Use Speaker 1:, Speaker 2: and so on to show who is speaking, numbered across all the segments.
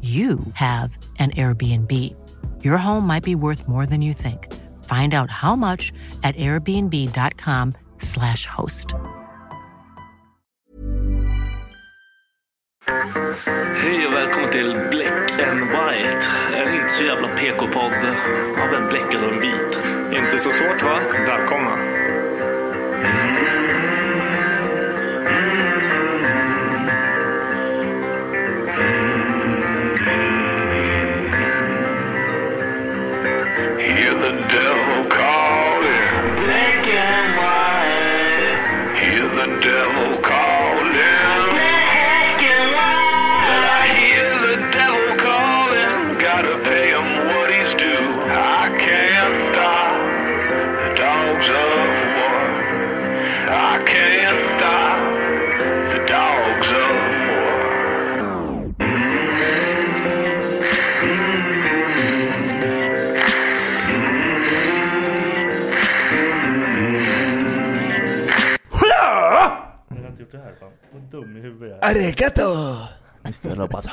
Speaker 1: you have an Airbnb. Your home might be worth more than you think. Find out how much at airbnb.com/slash host.
Speaker 2: Hej och välkommen till Black and White. En inte så jävla PK-podd av en bläckad och en vit.
Speaker 3: Inte så svårt va? Välkomna.
Speaker 4: Hear the devil calling. Black and white. Hear the devil calling. Black and white. I hear the devil calling. Gotta pay him what he's due. I can't stop the dogs of war. I can't stop the dogs of war.
Speaker 2: Jag har inte gjort det här fan. Vad dum i huvudet jag är.
Speaker 5: Arigato!
Speaker 2: Mr. Roboto.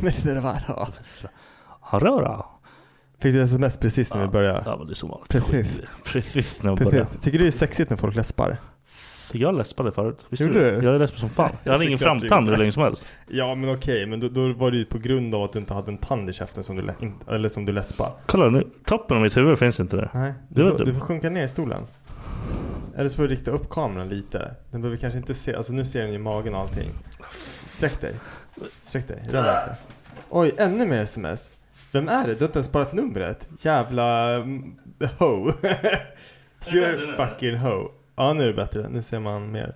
Speaker 5: Mr. Navarro.
Speaker 2: Hallå då.
Speaker 5: Fick du sms precis när vi började?
Speaker 2: Ja men det är som vanligt.
Speaker 5: Precis.
Speaker 2: Precis när jag började.
Speaker 5: Precis. Tycker du det är sexigt när folk läspar?
Speaker 2: Jag läspade förut. Visste
Speaker 5: Gjorde
Speaker 2: du?
Speaker 5: du?
Speaker 2: Jag läspade som fan. Jag hade ingen
Speaker 5: Såklart du
Speaker 2: framtand
Speaker 5: gjorde.
Speaker 2: hur länge som helst.
Speaker 5: Ja men okej, men då, då var det ju på grund av att du inte hade en tand i käften som du, lä- in- eller som du läspar.
Speaker 2: Kolla nu. Toppen av mitt huvud finns inte där.
Speaker 5: Nej,
Speaker 2: Det
Speaker 5: du
Speaker 2: var
Speaker 5: får,
Speaker 2: dumt.
Speaker 5: du får sjunka ner i stolen. Eller så får du rikta upp kameran lite. Den behöver kanske inte se, alltså nu ser den ju magen och allting. Sträck dig. Sträck dig, rör dig inte. Oj, ännu mer sms. Vem är det? Du har inte ens sparat numret. Jävla mm, ho. You're fucking ho. Ja nu är det bättre, nu ser man mer.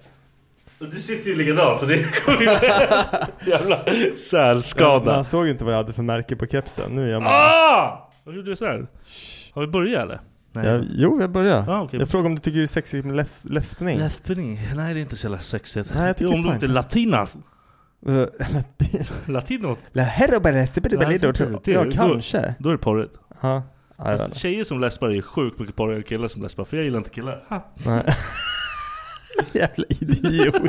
Speaker 2: Du sitter ju likadant så det kommer ju... jävla sälskada.
Speaker 5: Man såg ju inte vad jag hade för märke på kepsen. Nu är jag med.
Speaker 2: Ah! Vad gjorde du så här? Har vi börjat eller? Nej.
Speaker 5: Jag, jo, jag börjar.
Speaker 2: Ah, okej.
Speaker 5: Jag frågade om du tycker det är sexigt med läs- läspning.
Speaker 2: Läspning? Nej det är inte så jävla sexigt.
Speaker 5: Nej, jag tycker
Speaker 2: Om du
Speaker 5: fan
Speaker 2: inte är
Speaker 5: inte.
Speaker 2: latina.
Speaker 5: Vadå, läspning?
Speaker 2: Latino.
Speaker 5: La herro baleste bidi balido. Ja, kanske.
Speaker 2: Då är det porrigt.
Speaker 5: Ja. Ja, jag vet
Speaker 2: Fast
Speaker 5: inte.
Speaker 2: tjejer som läspar är ju sjukt mycket porrigare än killar som läspar. För jag gillar inte killar. Ha.
Speaker 5: Nej. Jävla idiot.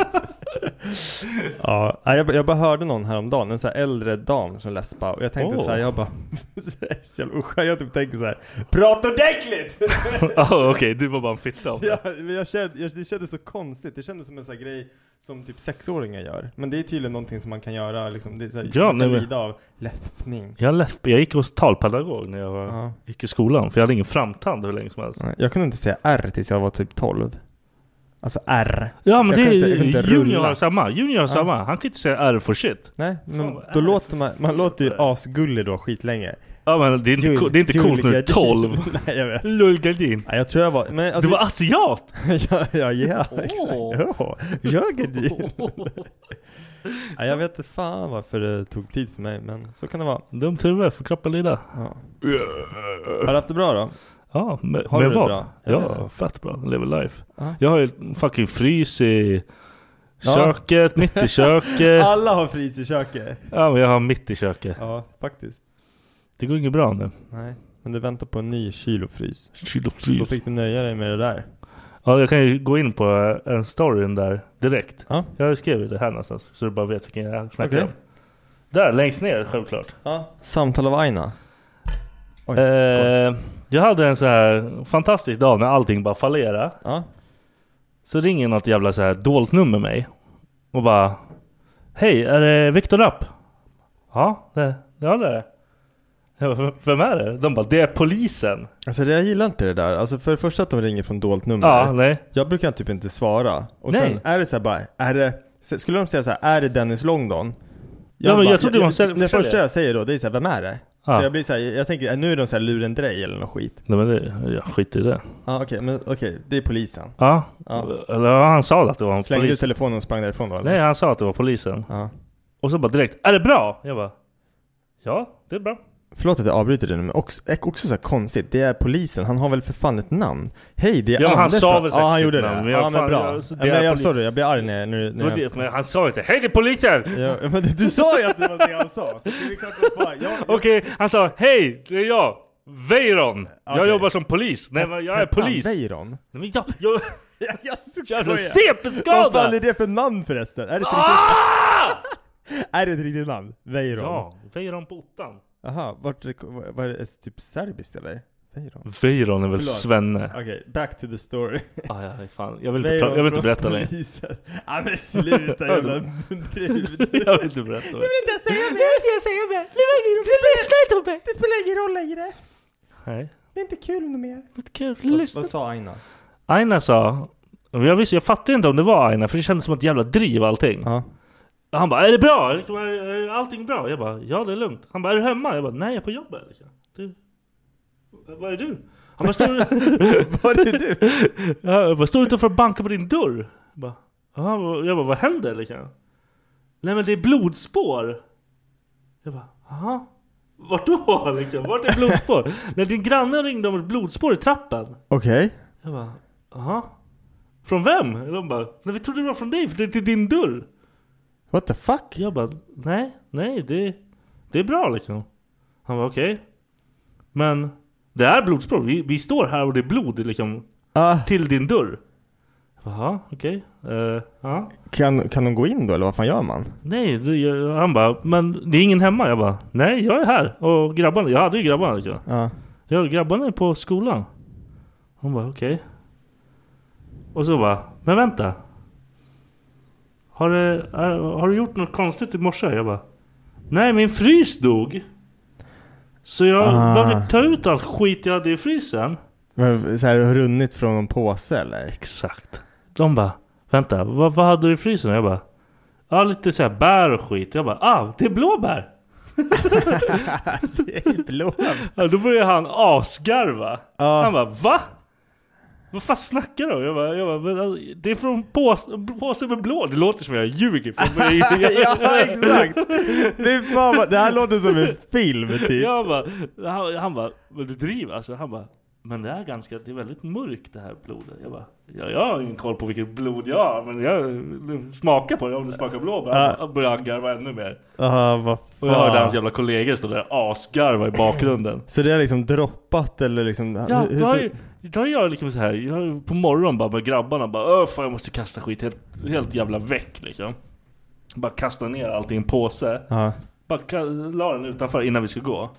Speaker 5: ja, nej, jag, jag bara hörde någon häromdagen, en så här äldre dam som läspade och jag tänkte
Speaker 2: Åh.
Speaker 5: så här, jag bara, så jävla oskön, jag typ tänker så här, prata ordentligt!
Speaker 2: Ja okej, du var bara en fitta av det.
Speaker 5: ja, men jag kände, jag, det kändes så konstigt, det kändes som en sån här grej som typ sexåringar gör. Men det är tydligen någonting som man kan göra liksom, det är så här,
Speaker 2: Ja,
Speaker 5: man
Speaker 2: nej,
Speaker 5: kan
Speaker 2: men-
Speaker 5: lida av läppning.
Speaker 2: Jag, läsp- jag gick hos talpedagog när jag var,
Speaker 5: Ja.
Speaker 2: gick i skolan. För jag hade ingen framtand hur länge som helst.
Speaker 5: Nej, Jag kunde inte säga R tills jag var typ 12. Alltså R.
Speaker 2: Ja men
Speaker 5: Jag
Speaker 2: det
Speaker 5: kan
Speaker 2: är
Speaker 5: inte- jag kan inte
Speaker 2: Junior
Speaker 5: rulla.
Speaker 2: har samma. Junior har samma. Han kan inte säga R for shit.
Speaker 5: Nej, men
Speaker 2: Fan, vad
Speaker 5: då
Speaker 2: är det
Speaker 5: låter man, man låter ju asgullig då skitlänge.
Speaker 2: Ja men det är inte,
Speaker 5: Jul-
Speaker 2: co- det är inte coolt när du är
Speaker 5: julgardin.
Speaker 2: 12.
Speaker 5: Nej, jag vet.
Speaker 2: Lullgardin.
Speaker 5: Nej, jag tror jag var... Men
Speaker 2: Du
Speaker 5: alltså,
Speaker 2: var asiat!
Speaker 5: ja, ja, ja, exakt.
Speaker 2: Åh.
Speaker 5: Oh. Jag är dyr. Ja, jag vet inte fan varför det tog tid för mig, men så kan det vara.
Speaker 2: Dumt huvud, får kroppen lida.
Speaker 5: Ja. Har du haft det bra då?
Speaker 2: Ja, med,
Speaker 5: Har
Speaker 2: med
Speaker 5: du det
Speaker 2: vad?
Speaker 5: bra?
Speaker 2: Ja, fett bra. Level life.
Speaker 5: Ja.
Speaker 2: Jag har ju fucking frys i
Speaker 5: Ja.
Speaker 2: köket, mitt i köket.
Speaker 5: Alla har frys i köket.
Speaker 2: Ja men jag har mitt i köket.
Speaker 5: Ja, faktiskt.
Speaker 2: Det går inget bra nu.
Speaker 5: Nej, men du väntar på en ny kyl och frys.
Speaker 2: Kyl och
Speaker 5: Då
Speaker 2: frys.
Speaker 5: fick du nöja dig med det där.
Speaker 2: Ja, jag kan ju gå in på eh, en storyn där direkt.
Speaker 5: Ja.
Speaker 2: Jag skrev ju det här någonstans så du bara vet vilken jag snackar
Speaker 5: Okej.
Speaker 2: om. Där längst ner självklart.
Speaker 5: Ja. Samtal av Aina. Oj, skål.
Speaker 2: Eh, jag hade en så här fantastisk dag när allting bara fallerade.
Speaker 5: Ja.
Speaker 2: Så ringer något jävla så här dolt nummer mig. Och bara Hej, är det Viktor Rapp? Ja, det, ja det är det. Jag bara, "V- Vem är det? De bara, det är polisen.
Speaker 5: Alltså jag gillar inte det där. Alltså för det första att de ringer från dolt nummer.
Speaker 2: Ja, nej.
Speaker 5: Jag brukar typ inte svara. Och
Speaker 2: Nej.
Speaker 5: sen är det så här bara, är det, så- skulle de säga så här, är det Dennis Longdon?
Speaker 2: Ja, men jag trodde det var en sälj-
Speaker 5: Det
Speaker 2: försäljare.
Speaker 5: första jag säger då, det är så här, vem är det?
Speaker 2: Ja.
Speaker 5: För jag blir så här, jag tänker, nu är de så här lurendrej eller något skit.
Speaker 2: Nej men det, jag skiter i det.
Speaker 5: Ja okej, men okej, det är polisen.
Speaker 2: Ja,
Speaker 5: Ja.
Speaker 2: eller ja, han sa att det var en
Speaker 5: Slängde du
Speaker 2: polis.
Speaker 5: telefonen och sprang därifrån då eller?
Speaker 2: Nej, han sa att det var polisen.
Speaker 5: Ja.
Speaker 2: Och så bara direkt, är det bra? Jag bara, ja det är bra.
Speaker 5: Förlåt att jag avbryter dig nu, men också, också så här konstigt. Det är polisen, han har väl för fan ett namn? Hej, det är
Speaker 2: Ja, men han
Speaker 5: Anders
Speaker 2: sa
Speaker 5: va?
Speaker 2: väl
Speaker 5: Ja,
Speaker 2: säkert
Speaker 5: han
Speaker 2: sitt
Speaker 5: gjorde det.
Speaker 2: namn, men
Speaker 5: ja,
Speaker 2: jag
Speaker 5: men
Speaker 2: fan-
Speaker 5: bra.
Speaker 2: alltså, det
Speaker 5: Ja,
Speaker 2: är
Speaker 5: men jag,
Speaker 2: poli-
Speaker 5: sorry, jag blir arg när, när, när
Speaker 2: Det var
Speaker 5: jag...
Speaker 2: det, men han sa inte, hej det är polisen!
Speaker 5: Ja, men du, du sa ju att det var det han sa, så det är klart att bara, jag, jag,
Speaker 2: Okej, han sa, hej det är jag, Weiron!
Speaker 5: Okej.
Speaker 2: Jag jobbar som polis. Nej men jag är polis. Nej,
Speaker 5: Weiron?
Speaker 2: men jag, jag,
Speaker 5: Jag, jag
Speaker 2: jävla
Speaker 5: skojar! Vad fan är
Speaker 2: CP-skada!
Speaker 5: det för namn förresten? Är det ett
Speaker 2: Ah!
Speaker 5: riktigt, är det ett riktigt namn? Weiron?
Speaker 2: Ja, Weiron på ottan.
Speaker 5: Jaha, vart, var det typ serbiskt eller? Weiron?
Speaker 2: Weiron är väl
Speaker 5: Förlåt.
Speaker 2: Svenne?
Speaker 5: Okej, back to the story.
Speaker 2: Ah, ja, fan. Jag, vill inte, pra- jag vill inte berätta längre.
Speaker 5: längre. Ja men sluta jävla brud.
Speaker 2: Jag vill inte berätta längre.
Speaker 5: inte ens säga mer! Jag vill inte säga mer! Det spelar, det spelar ingen roll längre!
Speaker 2: Nej,
Speaker 5: Det är inte kul mer.
Speaker 2: vad kul.
Speaker 5: Vad,
Speaker 2: Lyssna.
Speaker 5: vad sa Aina?
Speaker 2: Aina sa, och jag, visste, jag fattade inte om det var Aina för det kändes som ett jävla driv allting.
Speaker 5: Ja.
Speaker 2: Och Han bara, är det bra? Liksom, är, är allting bra? Jag bara, ja det är lugnt. Han bara, är du hemma? Jag bara, nej jag är på jobbet. Liksom. Du, var är du? Han bara, står,
Speaker 5: Var det du?
Speaker 2: Ja, jag bara, står utanför och bankar på din dörr. Jag bara, "Jaha, vad- jag bara, vad händer liksom? Nej men det är blodspår. Jag bara, jaha? Vart då liksom? Vart är blodspår? Nej din granne ringde om ett blodspår i trappen.
Speaker 5: Okej.
Speaker 2: Jag bara, jaha? Från vem? Och De bara, nej vi trodde det var från dig för det är till din dörr.
Speaker 5: What the fuck?
Speaker 2: Jag bara, nej, nej det, det är bra liksom. Han var okej. Men det är blodspår. Vi, vi står här och det är blod liksom
Speaker 5: Ah,
Speaker 2: till din dörr. Jag bara, Jaha, okej. Eh, ja.
Speaker 5: kan, kan de gå in då eller vad fan gör man?
Speaker 2: Nej, det, jag, han bara, men det är ingen hemma. Jag bara, nej jag är här. Och grabbarna, jag hade ju grabbarna liksom.
Speaker 5: Ja.
Speaker 2: Ja, grabbarna är på skolan. Hon bara, okej. Och så bara, men vänta. Har du, är, har du gjort något konstigt i morse? Jag bara, nej min frys dog. Så jag
Speaker 5: Ah.
Speaker 2: behövde ta ut allt skit jag hade i frysen.
Speaker 5: Men så här runnit från någon påse eller?
Speaker 2: Exakt. De bara, vänta, vad, vad hade du i frysen? Jag bara, ja lite så här bär och skit. Jag bara, ah det är blåbär.
Speaker 5: Blå.
Speaker 2: Ja, då började han asgarva.
Speaker 5: Ja.
Speaker 2: Han bara va? Vad fan snackar du om? Jag bara, jag bara men, alltså, det är från påse, påse med blå. Det låter som jag ljuger. För jag, börjar-
Speaker 5: ja exakt! Det, är fan vad, det här låter som en film typ.
Speaker 2: jag bara, han, han bara, men du driver alltså? Han bara, men det är ganska, det är väldigt mörkt det här blodet. Jag bara, ja, jag har ingen koll på vilket blod jag har. Men jag smakar på det om det smakar blåbär.
Speaker 5: Ja.
Speaker 2: Han började han garva ännu mer.
Speaker 5: Ah, vad
Speaker 2: Och jag hörde hans
Speaker 5: fan.
Speaker 2: jävla kollegor stå där och asgarva i bakgrunden.
Speaker 5: Så det har liksom droppat eller liksom?
Speaker 2: Ja,
Speaker 5: hur- hur
Speaker 2: då
Speaker 5: så-
Speaker 2: har, jag, då har jag liksom så här, jag har på morgonen bara med grabbarna bara Öh fan jag måste kasta skit helt, helt jävla väck liksom Bara kasta ner allt i en påse
Speaker 5: Ja.
Speaker 2: Bara ka- la den utanför innan vi skulle gå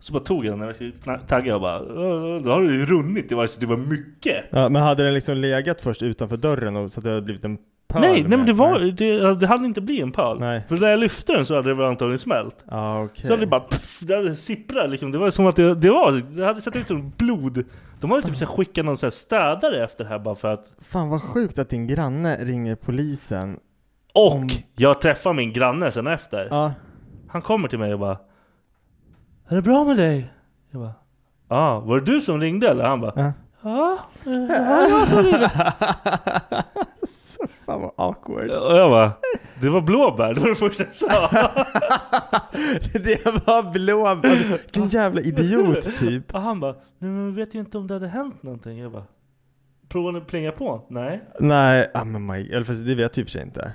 Speaker 2: Så bara tog jag den när jag skulle kna- tagga och bara "Öh, Då har det ju runnit, det var, det var mycket
Speaker 5: Ja, men hade den liksom legat först utanför dörren och så att det hade blivit en pöl
Speaker 2: nej, nej men
Speaker 5: med,
Speaker 2: det var,
Speaker 5: nej.
Speaker 2: det, det hade inte blivit en pöl.
Speaker 5: Nej.
Speaker 2: För när jag lyfte den så hade det väl antagligen smält.
Speaker 5: Ja, okej.
Speaker 2: Så hade det bara pff, det hade sipprat liksom. Det var som att det, det var, det hade sett ut som blod. De hade typ så här skickat någon så här städare efter det här bara för att.
Speaker 5: Fan vad sjukt att din granne ringer polisen.
Speaker 2: Och
Speaker 5: Om-
Speaker 2: jag träffar min granne sen efter.
Speaker 5: Ja.
Speaker 2: Han kommer till mig och bara Är det bra med dig? Jag bara Ja, ah, var det du som ringde eller? Han bara
Speaker 5: Ja.
Speaker 2: Ja, eh, det var jag som ringde.
Speaker 5: Fan vad awkward.
Speaker 2: Och jag bara Det var blåbär, det var det första jag sa.
Speaker 5: det var blå. Alltså, vilken jävla idiot typ.
Speaker 2: Och han bara Nej men vi vet ju inte om det hade hänt någonting. Jag bara Provar ni att plinga på? Nej.
Speaker 5: Nej, ah, men my, eller fast det vet jag i och för sig inte.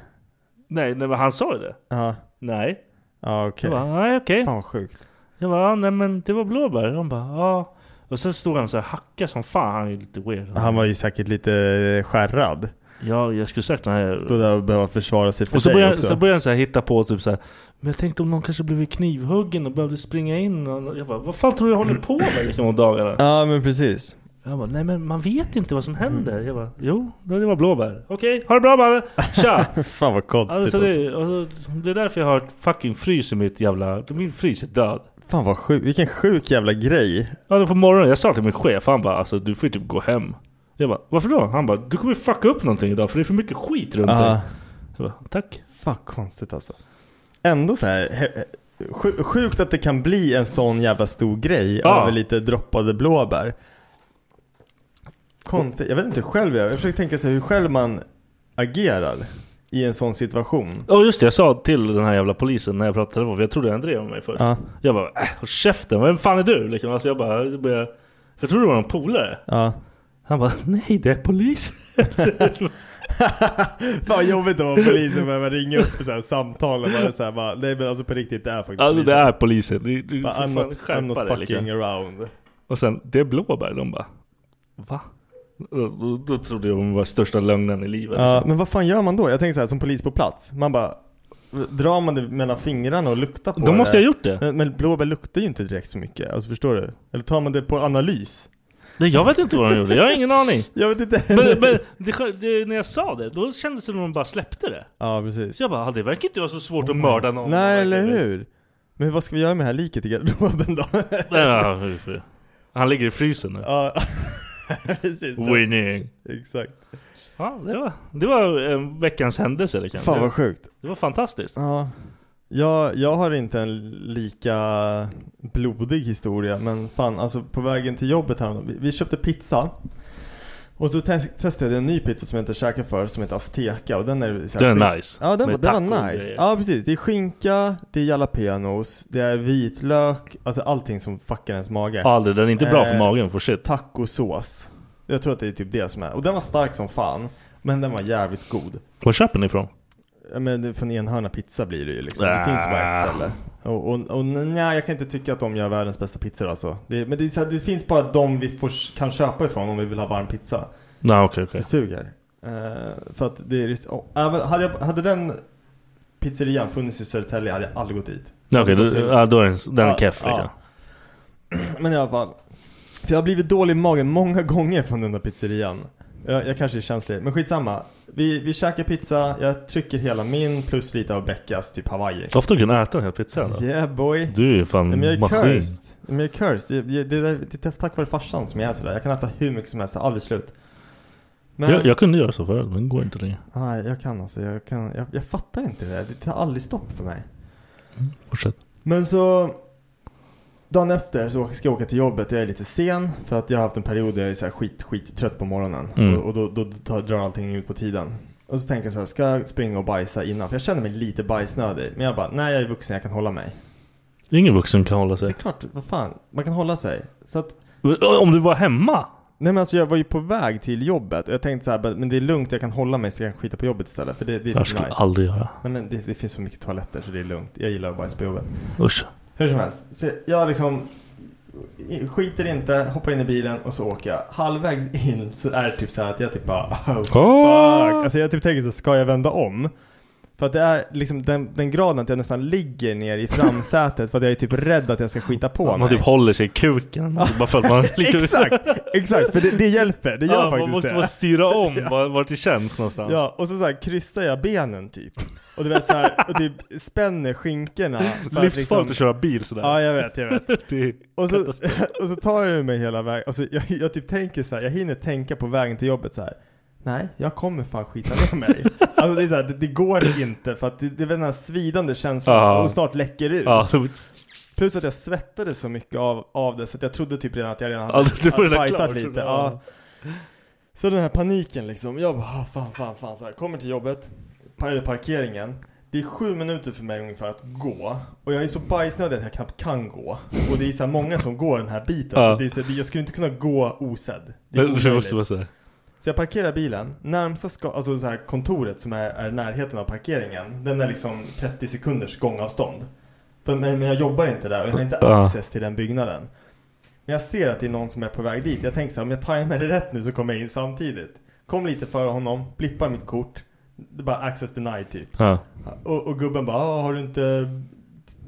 Speaker 2: Nej, nej men han sa ju det.
Speaker 5: Ja,
Speaker 2: Nej.
Speaker 5: ja okej.
Speaker 2: Jag bara, nej okej.
Speaker 5: Fan vad sjukt.
Speaker 2: Jag bara, ah, nej men det var blåbär. De bara, ja. Ah. Och sen stod han så här hacka som fan. Han är ju lite weird.
Speaker 5: Han var ju säkert lite eh, skärrad.
Speaker 2: Ja, jag skulle sagt den här.
Speaker 5: Stod där och behövde försvara sig för
Speaker 2: Och så
Speaker 5: sig
Speaker 2: började,
Speaker 5: också.
Speaker 2: så började han så här hitta på typ så här. Men jag tänkte om någon kanske blivit knivhuggen och behövde springa in. Och jag bara, vad fan tror du jag håller på med liksom om dagarna?
Speaker 5: Ja men precis.
Speaker 2: Jag bara, nej men man vet inte vad som händer. Jag bara, jo, det var blåbär. Okej, ha det bra mannen. Tja!
Speaker 5: Fan vad konstigt
Speaker 2: Alltså
Speaker 5: alltså.
Speaker 2: det, alltså, det är därför jag har ett fucking frys i mitt jävla... Min frys är död.
Speaker 5: Fan vad sjukt. Vilken sjuk jävla grej.
Speaker 2: Ja, då på morgonen. Jag sa till min chef, han bara alltså du får ju typ gå hem. Jag bara varför då? Han bara du kommer ju fucka upp någonting idag för det är för mycket skit runt dig.
Speaker 5: Ja.
Speaker 2: Jag bara tack.
Speaker 5: Fan konstigt alltså. Ändå så här. he- sju- Sjukt att det kan bli en sån jävla stor grej
Speaker 2: Ja.
Speaker 5: över lite droppade blåbär. Konstigt. Jag vet inte hur själv jag. Jag försöker tänka sig hur själv man agerar i en sån situation.
Speaker 2: Ja just det, jag sa till den här jävla polisen när jag pratade med för jag trodde han drev med mig först.
Speaker 5: Ja.
Speaker 2: Jag bara äh, håll käften, vem fan är du? Liksom, alltså jag bara, jag började, för jag trodde det var en polare.
Speaker 5: Ja.
Speaker 2: Han bara nej det är polisen. Alltså,
Speaker 5: Fan vad jobbigt att vara polis och behöva ringa upp för så här samtal och bara så här bara, nej men alltså på riktigt det är faktiskt
Speaker 2: Alltså det
Speaker 5: polisen.
Speaker 2: är polisen. Du, du
Speaker 5: Bara,
Speaker 2: får
Speaker 5: I'm
Speaker 2: fan
Speaker 5: not, I'm
Speaker 2: skärpa
Speaker 5: not
Speaker 2: dig
Speaker 5: fucking
Speaker 2: liksom.
Speaker 5: around.
Speaker 2: Och sen det är blåbär. De bara va? Då, då, då trodde jag de var största lögnen i livet.
Speaker 5: Ja, men vad fan gör man då? Jag tänker så här som polis på plats. Man bara, drar man det mellan fingrarna och luktar på
Speaker 2: Då
Speaker 5: det?
Speaker 2: måste jag ha gjort det.
Speaker 5: Men, men blåbär luktar ju inte direkt så mycket, alltså förstår du? Eller tar man det på analys?
Speaker 2: Nej, jag vet inte vad de gjorde, jag har ingen aning.
Speaker 5: Jag vet inte
Speaker 2: Men, men det, skö- det, när jag sa det, då kändes det som att de bara släppte det.
Speaker 5: Ja, precis.
Speaker 2: Så jag bara, "Ah, det verkar inte vara så svårt att mörda någon.
Speaker 5: Oh Nej, eller hur? Men vad ska vi göra med det här liket i garderoben då?
Speaker 2: Nej, ja, hur för- Han ligger i frysen nu.
Speaker 5: ja, precis.
Speaker 2: Winning.
Speaker 5: Exakt.
Speaker 2: Ja, det var, det var en veckans händelse. Det,
Speaker 5: Fan
Speaker 2: kan.
Speaker 5: vad sjukt.
Speaker 2: det var fantastiskt.
Speaker 5: Ja. Jag, jag har inte en lika blodig historia men fan alltså på vägen till jobbet här vi, vi köpte pizza och så te- testade jag en ny pizza som jag inte käkat för som heter Azteca och den är så här-
Speaker 2: Den är nice.
Speaker 5: Ja den, var,
Speaker 2: Med
Speaker 5: den
Speaker 2: taco
Speaker 5: var
Speaker 2: och
Speaker 5: nice.
Speaker 2: grejer.
Speaker 5: Ja precis, det är skinka, det är jalapenos, det är vitlök, alltså allting som fuckar ens mage.
Speaker 2: Aldrig, den är inte bra för
Speaker 5: Eh,
Speaker 2: magen for shit.
Speaker 5: Tacosås. Jag tror att det är typ det som är. Och den var stark som fan, men den var jävligt god.
Speaker 2: Var köper ni ifrån?
Speaker 5: Ja, Men det- från enhörna pizza blir det ju liksom. Det finns bara ett ställe. Och, och, och nej, jag kan inte tycka att de gör världens bästa pizzor alltså. Det, men det, är så här, det finns bara de vi får, kan köpa ifrån om vi vill ha varm pizza.
Speaker 2: Nej okej okej.
Speaker 5: Det suger. Eh, för att det är... Oh, även, hade, jag, hade den pizzerian funnits i Södertälje hade jag aldrig gått dit.
Speaker 2: Nej, okej, då- ja, då är den, den är
Speaker 5: Ja,
Speaker 2: keff
Speaker 5: ja.
Speaker 2: liksom.
Speaker 5: Men i alla fall. För jag har blivit dålig i magen många gånger från den där pizzerian. Jag, jag kanske är känslig, men skitsamma. Vi, vi käkar pizza, jag trycker hela min plus lite av Beckas, typ Hawaii.
Speaker 2: Ofta kunna äta en hel pizza då.
Speaker 5: Yeah boy.
Speaker 2: Du är ju fan
Speaker 5: Nej, men jag är
Speaker 2: maskin.
Speaker 5: cursed. Men jag är cursed. Det, det, det, är- det är tack vare farsan som jag är sådär. Jag kan äta hur mycket som helst, det är aldrig slut. Men,
Speaker 2: Jag, jag kunde göra så förut men det går inte längre.
Speaker 5: Nej, jag kan alltså. Jag, kan, jag, jag fattar inte det där. Det tar aldrig stopp för mig.
Speaker 2: Fortsätt.
Speaker 5: Men så dagen efter så ska jag åka till jobbet jag är lite sen för att jag har haft en period där jag är så här skit, skit trött på morgonen
Speaker 2: Mm.
Speaker 5: och, och då, då, tar, drar allting ut på tiden. Och så tänker jag så här, ska jag springa och bajsa innan? För jag känner mig lite bajsnödig. Men jag bara, nej jag är vuxen, jag kan hålla mig.
Speaker 2: Ingen vuxen kan hålla
Speaker 5: Det är
Speaker 2: sig.
Speaker 5: klart, vad fan, man kan hålla sig. Så att,
Speaker 2: Om du var hemma?
Speaker 5: nej men alltså jag var ju på väg till jobbet och jag tänkte så här, men det är lugnt, jag kan hålla mig så jag kan skita på jobbet istället. För det, det är
Speaker 2: Jag
Speaker 5: typ
Speaker 2: skulle
Speaker 5: nice.
Speaker 2: aldrig göra.
Speaker 5: Nej men det, det finns så mycket toaletter så det är lugnt. Jag gillar att bajsa på jobbet.
Speaker 2: Usch.
Speaker 5: Hur som helst, så jag liksom skiter inte, hoppar in i bilen och så åker jag. Halvvägs in så är det typ så här att jag typ bara oh, fuck.
Speaker 2: Åh!
Speaker 5: Alltså jag typ tänker så här, ska jag vända om? För att det är liksom den, den graden att jag nästan ligger ner i framsätet för att jag är typ rädd att jag ska skita på
Speaker 2: man typ håller sig i kuken. Bara för att man
Speaker 5: Exakt, exakt, för det, det hjälper. Det gör
Speaker 2: ja,
Speaker 5: faktiskt
Speaker 2: man måste
Speaker 5: det.
Speaker 2: bara styra om var- vart det känns någonstans.
Speaker 5: Ja, och så, så här, kryssar jag benen typ. Och du vet så här, och typ spänner skinkorna. för att liksom-
Speaker 2: Livsfarligt att köra bil sådär.
Speaker 5: Ja, jag vet, jag vet.
Speaker 2: Det är
Speaker 5: Och så,
Speaker 2: katastrof.
Speaker 5: och så tar jag mig hela vägen, alltså, jag, jag typ tänker så här, jag hinner tänka på vägen till jobbet så här. Nej, jag kommer fan skita ner mig. alltså det är så här, det, det går inte för att det, det är den här svidande känslan
Speaker 2: Ja.
Speaker 5: och snart läcker ut.
Speaker 2: Ja, det var-
Speaker 5: Plus att jag svettades så mycket av, av det så att jag trodde typ redan att jag redan
Speaker 2: Ja,
Speaker 5: hade,
Speaker 2: det var
Speaker 5: hade
Speaker 2: redan
Speaker 5: bajsat
Speaker 2: klart.
Speaker 5: lite. Ja.
Speaker 2: Ja.
Speaker 5: Så den här paniken liksom, jag bara ah, fan fan fan så här. kommer till jobbet, par- eller parkeringen. Det är sju minuter för mig ungefär att gå och jag är så bajsnödig att jag knappt kan gå. Och det är så här många som går den här biten.
Speaker 2: Ja.
Speaker 5: Så det är så, det- jag skulle inte kunna gå osedd. Det är
Speaker 2: Men det
Speaker 5: omöjligt.
Speaker 2: måste vara såhär.
Speaker 5: Så jag parkerar bilen, närmsta ska, alltså så här kontoret som är, är i närheten av parkeringen, den är liksom 30 sekunders gångavstånd. För, men, men jag jobbar inte där och jag har inte
Speaker 2: Ja.
Speaker 5: access till den byggnaden. Men jag ser att det är någon som är på väg dit. Jag tänker så här, om jag tajmar det rätt nu så kommer jag in samtidigt. Kom lite före honom, blippar mitt kort. Det är bara access denied typ.
Speaker 2: Ja.
Speaker 5: Och, och gubben bara, "Ah, har du inte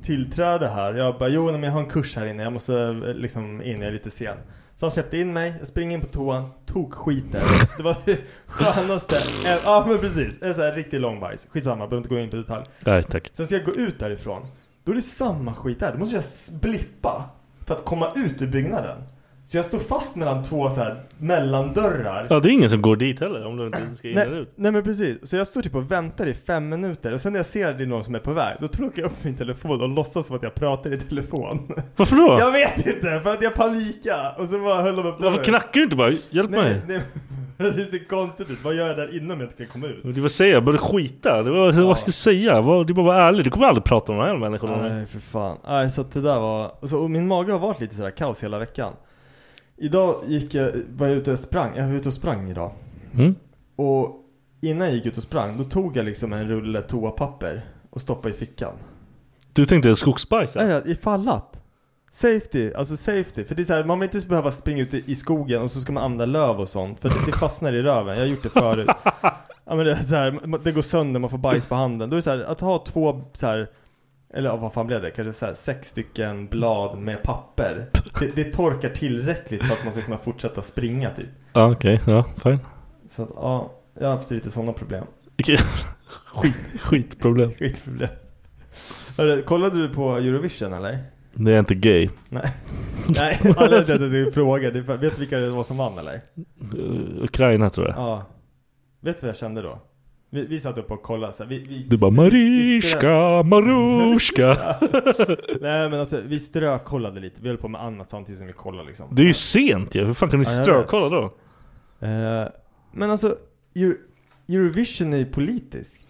Speaker 5: tillträde här? Jag bara, jo nej, men jag har en kurs här inne, jag måste eh, liksom in, jag är lite sen. Så han släppte in mig, jag springer in på toan, tog skiten. Så det var det skönaste, eh, ja men precis, en sån här riktigt lång bajs. Skitsamma, behöver inte gå in på detalj.
Speaker 2: Nej tack.
Speaker 5: Sen ska jag gå ut därifrån, då är det samma skit där. Då måste jag s- blippa för att komma ut ur byggnaden. Så jag står fast mellan två så här mellandörrar.
Speaker 2: Ja det är ingen som går dit heller om du inte ska in eller
Speaker 5: Nej,
Speaker 2: ut.
Speaker 5: nej men precis, så jag står typ och väntar i fem minuter och sen när jag ser att det är någon som är på väg Då plockar jag upp min telefon och låtsas som att jag pratar i telefon
Speaker 2: Varför då?
Speaker 5: Jag vet inte, för att jag panikar och så bara höll de upp
Speaker 2: Varför knackar du inte bara? Hjälp
Speaker 5: Nej,
Speaker 2: mig.
Speaker 5: nej, det ser konstigt ut, vad gör jag där innan om jag inte kan komma ut?
Speaker 2: Det var säga, jag började skita. Det var, Vad ska du säga? Vad- Det var bara ärlig. Du kommer aldrig prata om de här människorna.
Speaker 5: Nej för fan, nej så att det där var, och, så, och min mage har varit lite sådär kaos hela veckan Idag gick jag, var jag ute och sprang, jag var ute och sprang idag
Speaker 2: Mm.
Speaker 5: Och innan jag gick ut och sprang, då tog jag liksom en rulle toapapper och stoppade i fickan
Speaker 2: Du tänkte skogsbajs?
Speaker 5: Ja,
Speaker 2: ja?
Speaker 5: ja, ifall att. Safety, alltså safety. För det är så här, man vill inte behöva springa ut i i skogen och så ska man använda löv och sånt. För det, det fastnar i röven, jag har gjort det förut. ja men det är så här, man- det går sönder, man får bajs på handen. Då är det så här, att ha två så här, eller ja, vad fan blev det? Kanske så här, sex stycken blad med papper. Det, det torkar tillräckligt för att man ska kunna fortsätta springa typ.
Speaker 2: Ja okej, ja fine.
Speaker 5: Så att, ja, jag har haft lite sådana problem.
Speaker 2: Okej. Skit, skitproblem.
Speaker 5: Skitproblem. Hörru, Kollade du på Eurovision eller?
Speaker 2: Det är inte gay.
Speaker 5: Nej, Nej anledningen till att du frågar, det är för- vet du vilka det var som vann eller?
Speaker 2: Uh, Ukraina tror jag.
Speaker 5: Ja Vet du vad jag kände då? Vi, vi satt upp och kollade så här, vi, vi,
Speaker 2: Du bara
Speaker 5: vi- vi
Speaker 2: Mariska,
Speaker 5: strö-
Speaker 2: Maruska.
Speaker 5: Nej men alltså vi strökollade lite, vi höll på med annat samtidigt som vi kollade liksom
Speaker 2: Det är ju sent ju. Hur fan kan ni
Speaker 5: Ja, jag
Speaker 2: strökolla då?
Speaker 5: Eh, Men alltså, Euro- Eurovision är ju politiskt